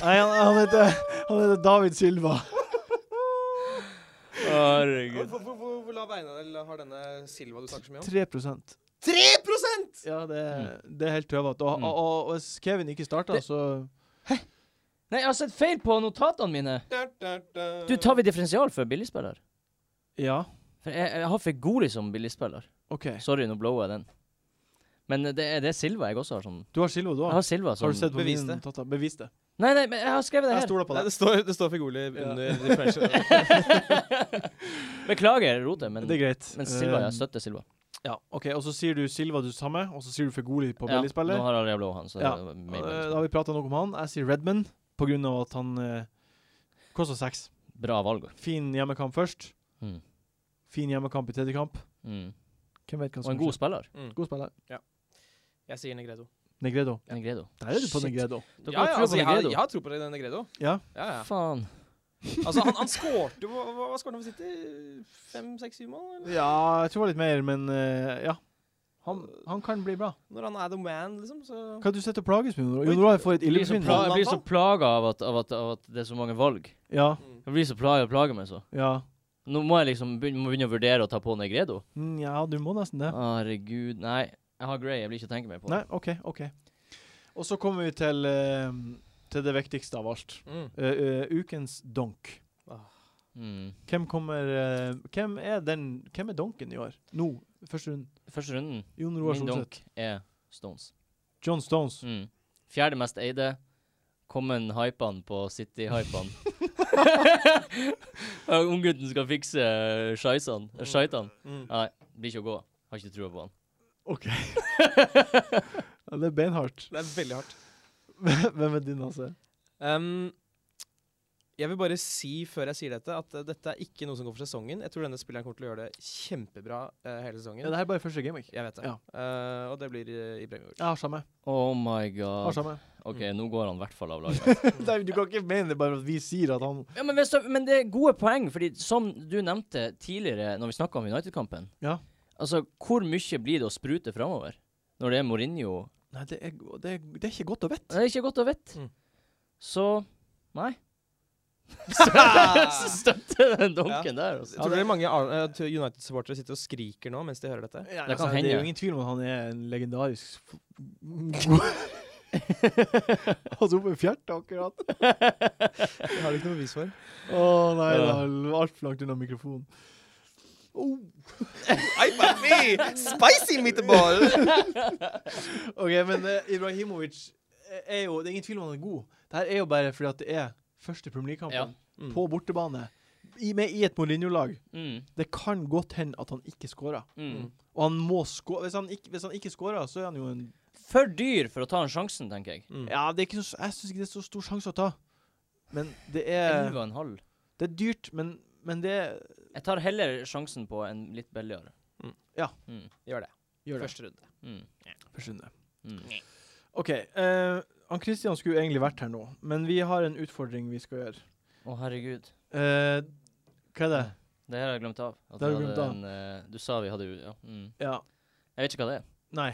[SPEAKER 1] Nei, han, han, heter, han heter David Silva.
[SPEAKER 2] Herregud.
[SPEAKER 4] Hvor, hvor, hvor, hvor lav eiendel har denne Silva du snakker så mye om?
[SPEAKER 1] 3
[SPEAKER 4] 3
[SPEAKER 1] Ja, det, det er helt tøvete. Og,
[SPEAKER 2] Mm.
[SPEAKER 1] og, og, og hvis Kevin ikke starta,
[SPEAKER 2] Det-
[SPEAKER 1] så
[SPEAKER 2] Nei, jeg har sett feil på notatene mine. Du, tar vi differensial for billigspiller?
[SPEAKER 1] Ja,
[SPEAKER 2] For jeg, jeg har Fegoli som billigspiller.
[SPEAKER 1] OK.
[SPEAKER 2] Sorry, nå blower jeg den. Men det er, det er Silva jeg også har som
[SPEAKER 1] Du har Silva, du
[SPEAKER 2] Jeg
[SPEAKER 1] òg.
[SPEAKER 2] har Silva som
[SPEAKER 1] Har du sett på
[SPEAKER 4] Bevis
[SPEAKER 1] min
[SPEAKER 4] det.
[SPEAKER 1] Tata? Bevis det.
[SPEAKER 2] Nei, nei, men jeg har skrevet det
[SPEAKER 1] Jeg
[SPEAKER 2] her.
[SPEAKER 1] stoler på
[SPEAKER 4] Nei,
[SPEAKER 1] deg.
[SPEAKER 4] det står, det står Figoli under differential.
[SPEAKER 2] Beklager rotet, men,
[SPEAKER 1] Det er greit.
[SPEAKER 2] men Silva,
[SPEAKER 1] Um,
[SPEAKER 2] jeg støtter Silva.
[SPEAKER 1] ja, OK. Og så sier du Silva du samme, og så sier du Fegoli på
[SPEAKER 2] Ja, nå
[SPEAKER 1] billigspillet.
[SPEAKER 2] har alle blå han, så
[SPEAKER 1] Ja.
[SPEAKER 2] det er
[SPEAKER 1] Eh, da
[SPEAKER 2] mer billigspiller.
[SPEAKER 1] har vi prata nok om han. Jeg sier Redman på grunn av at han uh, kosta seks.
[SPEAKER 2] Bra valg.
[SPEAKER 1] Fin hjemmekamp først.
[SPEAKER 2] Mm.
[SPEAKER 1] Fin hjemmekamp i tredje kamp.
[SPEAKER 2] Mm.
[SPEAKER 1] Hvem vet hva
[SPEAKER 2] Og
[SPEAKER 1] som
[SPEAKER 2] en god
[SPEAKER 1] skjer?
[SPEAKER 2] spiller.
[SPEAKER 4] Mm.
[SPEAKER 1] God spiller.
[SPEAKER 4] Jeg sier Negredo.
[SPEAKER 1] Negredo.
[SPEAKER 2] Negredo.
[SPEAKER 1] Der er du på
[SPEAKER 2] Shit.
[SPEAKER 1] Negredo.
[SPEAKER 2] Dere
[SPEAKER 4] Ja,
[SPEAKER 2] har
[SPEAKER 4] ja,
[SPEAKER 2] trua på
[SPEAKER 4] altså, jeg, har-
[SPEAKER 2] Negredo.
[SPEAKER 4] jeg har tro på det, Negredo.
[SPEAKER 1] Ja.
[SPEAKER 4] Ja, ja.
[SPEAKER 2] Faen.
[SPEAKER 4] Altså, han, han skårte jo- Hva, hva hva skårte han for City? Fem, seks, syv mål? Eller?
[SPEAKER 1] ja, jeg tror det var litt mer, men eh, ja. Han, han kan bli bra.
[SPEAKER 4] Når han er the man, liksom, så
[SPEAKER 1] Hva er det du sitter og plages med? Jon Roar? Jon Roar får et
[SPEAKER 2] Jeg blir så,
[SPEAKER 1] illebefinnende.
[SPEAKER 2] pla jeg blir så
[SPEAKER 4] Holland,
[SPEAKER 2] plaga av at, av, at, av at det er så mange valg.
[SPEAKER 1] Ja,
[SPEAKER 4] Mm.
[SPEAKER 2] Jeg blir så plaga og plager meg så.
[SPEAKER 1] ja.
[SPEAKER 2] Nå må jeg liksom begynne, må begynne å vurdere å ta på Negredo.
[SPEAKER 1] Mm, ja, du må nesten det.
[SPEAKER 2] Herregud. Nei, jeg har Grey. Jeg blir ikke å tenke mer på
[SPEAKER 1] Nei,
[SPEAKER 2] det.
[SPEAKER 1] OK, OK. Og så kommer vi til, eh, til det viktigste av alt.
[SPEAKER 4] Mm.
[SPEAKER 1] Eh, eh, ukens donk.
[SPEAKER 2] Mm.
[SPEAKER 1] Hvem kommer eh, Hvem er den Hvem er donken i år? Nå, første runden.
[SPEAKER 2] Første runden,
[SPEAKER 1] Jon Roar
[SPEAKER 2] min
[SPEAKER 1] Solseth.
[SPEAKER 2] donk, er Stones.
[SPEAKER 1] John Stones.
[SPEAKER 2] Mm. Fjerde mest eide. Common hypene på City-hypene. Unggutten skal fikse scheissene. eh, Scheitene.
[SPEAKER 4] Mm.
[SPEAKER 2] Nei, blir ikke å gå. Har ikke trua på han.
[SPEAKER 1] OK. Ja, det er beinhardt.
[SPEAKER 4] Det er veldig hardt.
[SPEAKER 1] Hvem er din, altså?
[SPEAKER 4] Um, jeg vil bare si før jeg sier dette, at eh, dette er ikke noe som går for sesongen. Jeg tror denne spilleren kommer til å gjøre det kjempebra eh, hele sesongen.
[SPEAKER 1] Ja, det her er bare første gameweek.
[SPEAKER 4] Jeg vet det.
[SPEAKER 1] Ja.
[SPEAKER 4] Eh, og det blir uh, Ibrahimovic.
[SPEAKER 1] Jeg har samme.
[SPEAKER 2] Oh my
[SPEAKER 1] Jeg har
[SPEAKER 2] god.
[SPEAKER 1] samme.
[SPEAKER 2] OK, nå går han i hvert fall av laget.
[SPEAKER 1] Nei, du kan ikke mene det bare at vi sier at han
[SPEAKER 2] ja, men, hvis du, men det er gode poeng, fordi som du nevnte tidligere når vi snakka om United-kampen
[SPEAKER 1] Ja.
[SPEAKER 2] Altså, hvor mye blir det å sprute framover når det er Mourinho
[SPEAKER 1] Nei, det er, det er, det er ikke godt å vite.
[SPEAKER 2] Det er ikke godt å vite.
[SPEAKER 4] Mm.
[SPEAKER 2] Så Nei. Så støtter den donken der. Altså.
[SPEAKER 4] Jeg tror det er mange Ar- eh, United-supportere sitter og skriker nå mens de hører dette.
[SPEAKER 1] Ja, altså,
[SPEAKER 2] Det kan
[SPEAKER 1] Det er
[SPEAKER 2] hende.
[SPEAKER 1] jo ingen tvil om at han er en legendarisk f- Han tok med fjertet akkurat.
[SPEAKER 4] Det har de ikke noe bevis for.
[SPEAKER 1] Å nei, det er altfor langt unna mikrofonen. Oh.
[SPEAKER 4] Spicy meatball!
[SPEAKER 1] OK, men eh, Ibrahimovic eh, er jo Det er ingen tvil om han er god. Det her er jo bare fordi at det er første Premier League-kampen
[SPEAKER 4] Mm.
[SPEAKER 1] på bortebane. I, med i et Mourinho-lag.
[SPEAKER 2] Mm,
[SPEAKER 1] Det kan godt hende at han ikke scorer.
[SPEAKER 2] mm.
[SPEAKER 1] Og han må score. Hvis han ikke, hvis han ikke scorer, så er han jo en
[SPEAKER 2] For dyr for å ta den sjansen, tenker jeg.
[SPEAKER 4] Mm,
[SPEAKER 1] Ja, det er ikke så, jeg syns ikke det er så stor sjanse å ta. Men det er,
[SPEAKER 2] Elleve og en halv.
[SPEAKER 1] det er dyrt, men, men det
[SPEAKER 2] Jeg tar heller sjansen på en litt billigere.
[SPEAKER 4] Mm.
[SPEAKER 1] Ja.
[SPEAKER 2] Mm,
[SPEAKER 4] Gjør det.
[SPEAKER 1] gjør det.
[SPEAKER 4] Første runde.
[SPEAKER 2] mm,
[SPEAKER 1] Forsvinner.
[SPEAKER 2] mm.
[SPEAKER 1] OK. eh, han Christian skulle egentlig vært her nå, men vi har en utfordring vi skal gjøre.
[SPEAKER 2] Å, herregud.
[SPEAKER 1] Eh, hva er det?
[SPEAKER 2] Det her har jeg glemt av. At
[SPEAKER 1] Det har
[SPEAKER 2] vi
[SPEAKER 1] du
[SPEAKER 2] hadde
[SPEAKER 1] glemt av.
[SPEAKER 2] en, eh, du sa vi hadde jo ja. mm.
[SPEAKER 1] Ja.
[SPEAKER 2] Jeg vet ikke hva det er.
[SPEAKER 1] Nei.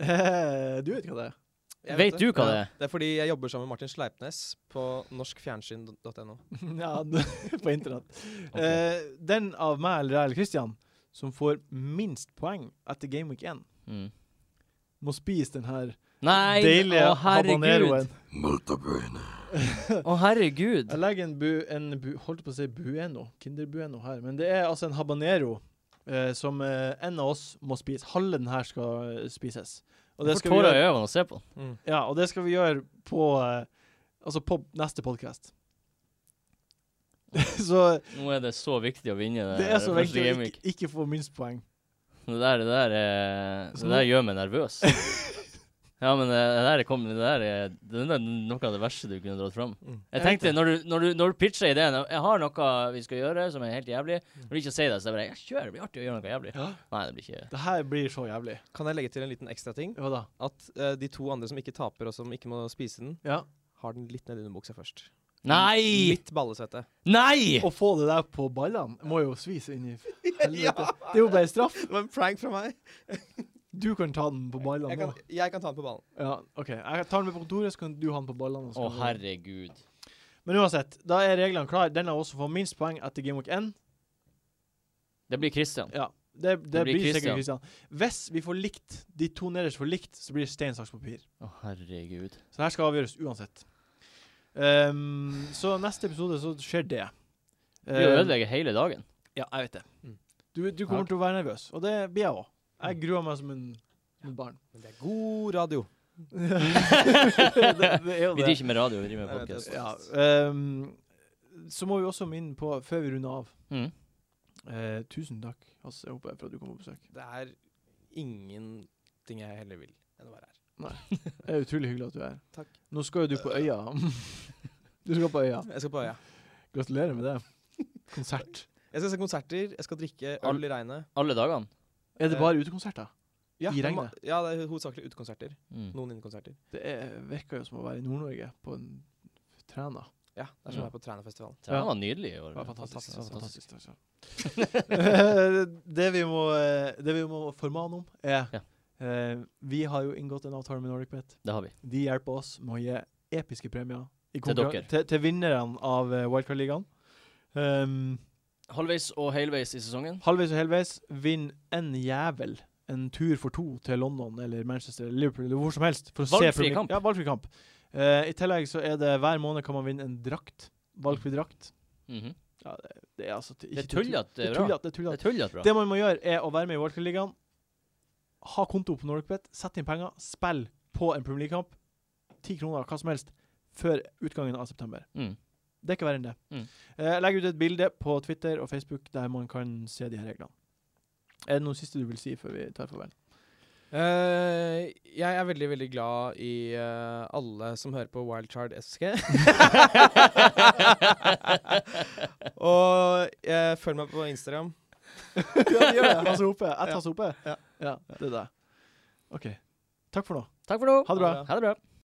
[SPEAKER 1] Eh, du vet hva det er.
[SPEAKER 4] Jeg
[SPEAKER 2] vet du hva det
[SPEAKER 4] Ja.
[SPEAKER 2] er?
[SPEAKER 4] Det er fordi jeg jobber sammen med Martin Sleipnes på norskfjernsyn.no.
[SPEAKER 1] ja, på internett. Eh, den av meg eller deg eller Christian som får minst poeng etter Game Week 1,
[SPEAKER 2] Mm.
[SPEAKER 1] må spise den her
[SPEAKER 2] Nei,
[SPEAKER 1] deilige
[SPEAKER 2] å herregud.
[SPEAKER 1] habaneroen.
[SPEAKER 2] Å herregud.
[SPEAKER 1] Jeg legger en bu... En bu holdt på å si bueno. Kinder bueno her. Men det er altså en habanero eh, som eh, en av oss må spise. Halve den her skal eh, spises. Og det
[SPEAKER 2] Jeg får
[SPEAKER 1] skal vi
[SPEAKER 2] tårer
[SPEAKER 1] gjøre
[SPEAKER 2] i øynene å se på.
[SPEAKER 4] Mm.
[SPEAKER 1] Ja, og det skal vi gjøre på eh, Altså på neste podkast. så
[SPEAKER 2] Nå er det så viktig å vinne det,
[SPEAKER 1] det er så
[SPEAKER 2] Eh, første
[SPEAKER 1] viktig å
[SPEAKER 2] Game Week.
[SPEAKER 1] ikke, ikke få minstpoeng.
[SPEAKER 2] Det der, det der, eh,
[SPEAKER 1] Så nå-
[SPEAKER 2] det der gjør meg nervøs. Ja, men eh, det der, kom, det der er det er noe av det verste du kunne dratt fram.
[SPEAKER 4] Mm.
[SPEAKER 2] Jeg tenkte, når du, når du, når du pitcha ideen Jeg har noe vi skal gjøre som er helt jævlig. Når du ikke sier det, så er det bare ja, kjør, det blir artig å gjøre noe jævlig.
[SPEAKER 1] Ja.
[SPEAKER 2] Nei, det blir ikke
[SPEAKER 1] Det her blir så jævlig.
[SPEAKER 4] Kan jeg legge til en liten ekstra ting?
[SPEAKER 1] Hva da?
[SPEAKER 4] At eh, de to andre som ikke taper, og som ikke må spise den,
[SPEAKER 1] Ja.
[SPEAKER 4] har den litt ned under buksa først.
[SPEAKER 2] Nei!
[SPEAKER 4] Litt ballesvette.
[SPEAKER 2] Nei!
[SPEAKER 1] Å få det der på ballene må jo svise inn i f- helvete. Det er jo bare straff.
[SPEAKER 4] Det var en prank fra meg.
[SPEAKER 1] Du kan ta den på ballene
[SPEAKER 4] Jeg kan,
[SPEAKER 1] nå.
[SPEAKER 4] jeg kan ta den på ballen.
[SPEAKER 1] Ja, OK. Jeg tar den med på kontoret, så kan du ha den på ballene. og så
[SPEAKER 2] Å,
[SPEAKER 1] kan du-
[SPEAKER 2] herregud.
[SPEAKER 1] Men uansett, da er reglene klare. Den har også fått minst poeng etter Game Week 1.
[SPEAKER 2] Det blir Christian.
[SPEAKER 1] Ja. Det, det,
[SPEAKER 2] Det blir
[SPEAKER 1] blir, sikkert Kristian. Hvis vi får likt, de to nederst får likt, så blir det stein, saks, papir.
[SPEAKER 2] Å, herregud.
[SPEAKER 1] Så det her skal avgjøres uansett. Ehm, så neste episode så skjer det.
[SPEAKER 2] Det blir å
[SPEAKER 1] Ehm,
[SPEAKER 2] ødelegge hele dagen.
[SPEAKER 1] ja, jeg vet det.
[SPEAKER 4] Mm.
[SPEAKER 1] Du, du kommer til å være nervøs, og det blir jeg òg. Jeg gruer meg som en, Mm. som et barn.
[SPEAKER 4] Men det er god radio.
[SPEAKER 1] det, det er jo
[SPEAKER 2] Vi driver
[SPEAKER 1] det.
[SPEAKER 2] ikke med radio, vi driver med
[SPEAKER 4] Nei, jeg vet
[SPEAKER 2] podkast.
[SPEAKER 4] det.
[SPEAKER 1] Ja, ehm, så må vi også minne på, før vi runder av
[SPEAKER 2] Mm.
[SPEAKER 1] eh, Tusen takk, Hasse, jeg håper for at du kom på besøk.
[SPEAKER 4] Det er ingenting jeg heller vil enn å være her.
[SPEAKER 1] Det er utrolig hyggelig at du er her.
[SPEAKER 4] Takk.
[SPEAKER 1] Nå skal jo du på Øya. du skal på Øya.
[SPEAKER 4] Jeg skal på øya.
[SPEAKER 1] Gratulerer med det. Konsert.
[SPEAKER 4] Jeg skal se konserter, jeg skal drikke
[SPEAKER 2] Al-
[SPEAKER 4] øl i regnet.
[SPEAKER 2] Alle dagene.
[SPEAKER 1] Er det bare utekonserter?
[SPEAKER 4] Ja,
[SPEAKER 1] I
[SPEAKER 4] det må-
[SPEAKER 1] regnet?
[SPEAKER 4] Ja, det er hovedsakelig utekonserter.
[SPEAKER 2] Mm.
[SPEAKER 4] Noen innekonserter.
[SPEAKER 1] Det er, virker jo som å være i Nord-Norge på en Træna.
[SPEAKER 4] Ja, det er som
[SPEAKER 2] Ja.
[SPEAKER 4] å være på Trænafestivalen.
[SPEAKER 2] Det var nydelig i år.
[SPEAKER 1] Det var fantastisk. fantastisk, fantastisk. det, vi må, eh, det vi må formane om, er
[SPEAKER 2] Ja.
[SPEAKER 1] eh, Vi har jo inngått en avtale med NordicBet.
[SPEAKER 2] Det har vi.
[SPEAKER 1] De hjelper oss med å gi episke premier i
[SPEAKER 2] Til
[SPEAKER 1] konkurran-
[SPEAKER 2] dere.
[SPEAKER 1] Til, til vinnerne av eh, Wildcard-ligaen. Um,
[SPEAKER 2] Halvveis og helveis i sesongen.
[SPEAKER 1] halvveis og helveis, vinn en jævel. En tur for to til London eller Manchester eller Liverpool eller hvor som helst. For å se
[SPEAKER 2] Valgfri
[SPEAKER 1] Premier-
[SPEAKER 2] kamp.
[SPEAKER 1] Ja, valgfri kamp. Eh, I tillegg så er det hver måned kan man vinne en drakt. Valgfri drakt.
[SPEAKER 2] Mhm.
[SPEAKER 1] Ja, det, det er altså
[SPEAKER 2] Det er tullete
[SPEAKER 1] Det er
[SPEAKER 2] bra.
[SPEAKER 1] tullete, det er
[SPEAKER 2] Det
[SPEAKER 1] tullete.
[SPEAKER 2] er tullete bra.
[SPEAKER 1] Det man må gjøre, er å være med i Wildcard-ligaen, ha konto på NordicBet, sette inn penger, spill på en Premier League-kamp, ti kroner, hva som helst, før utgangen av september.
[SPEAKER 2] Mm.
[SPEAKER 1] Det er ikke verre enn det.
[SPEAKER 2] Mm.
[SPEAKER 1] Eh, Jeg legger ut et bilde på Twitter og Facebook der man kan se de her reglene. Er det noe siste du vil si før vi tar farvel?
[SPEAKER 4] Eh, jeg er veldig, veldig glad i eh, alle som hører på Wildchard SK. og eh, følg meg på Instagram.
[SPEAKER 1] ja, det gjør jeg. Hasse Hope. Ett
[SPEAKER 4] Ja.
[SPEAKER 1] Hasse Hope.
[SPEAKER 4] Ja.
[SPEAKER 1] det er det. OK. Takk for nå.
[SPEAKER 2] Takk for nå.
[SPEAKER 1] Ha det bra.
[SPEAKER 2] Ha det bra.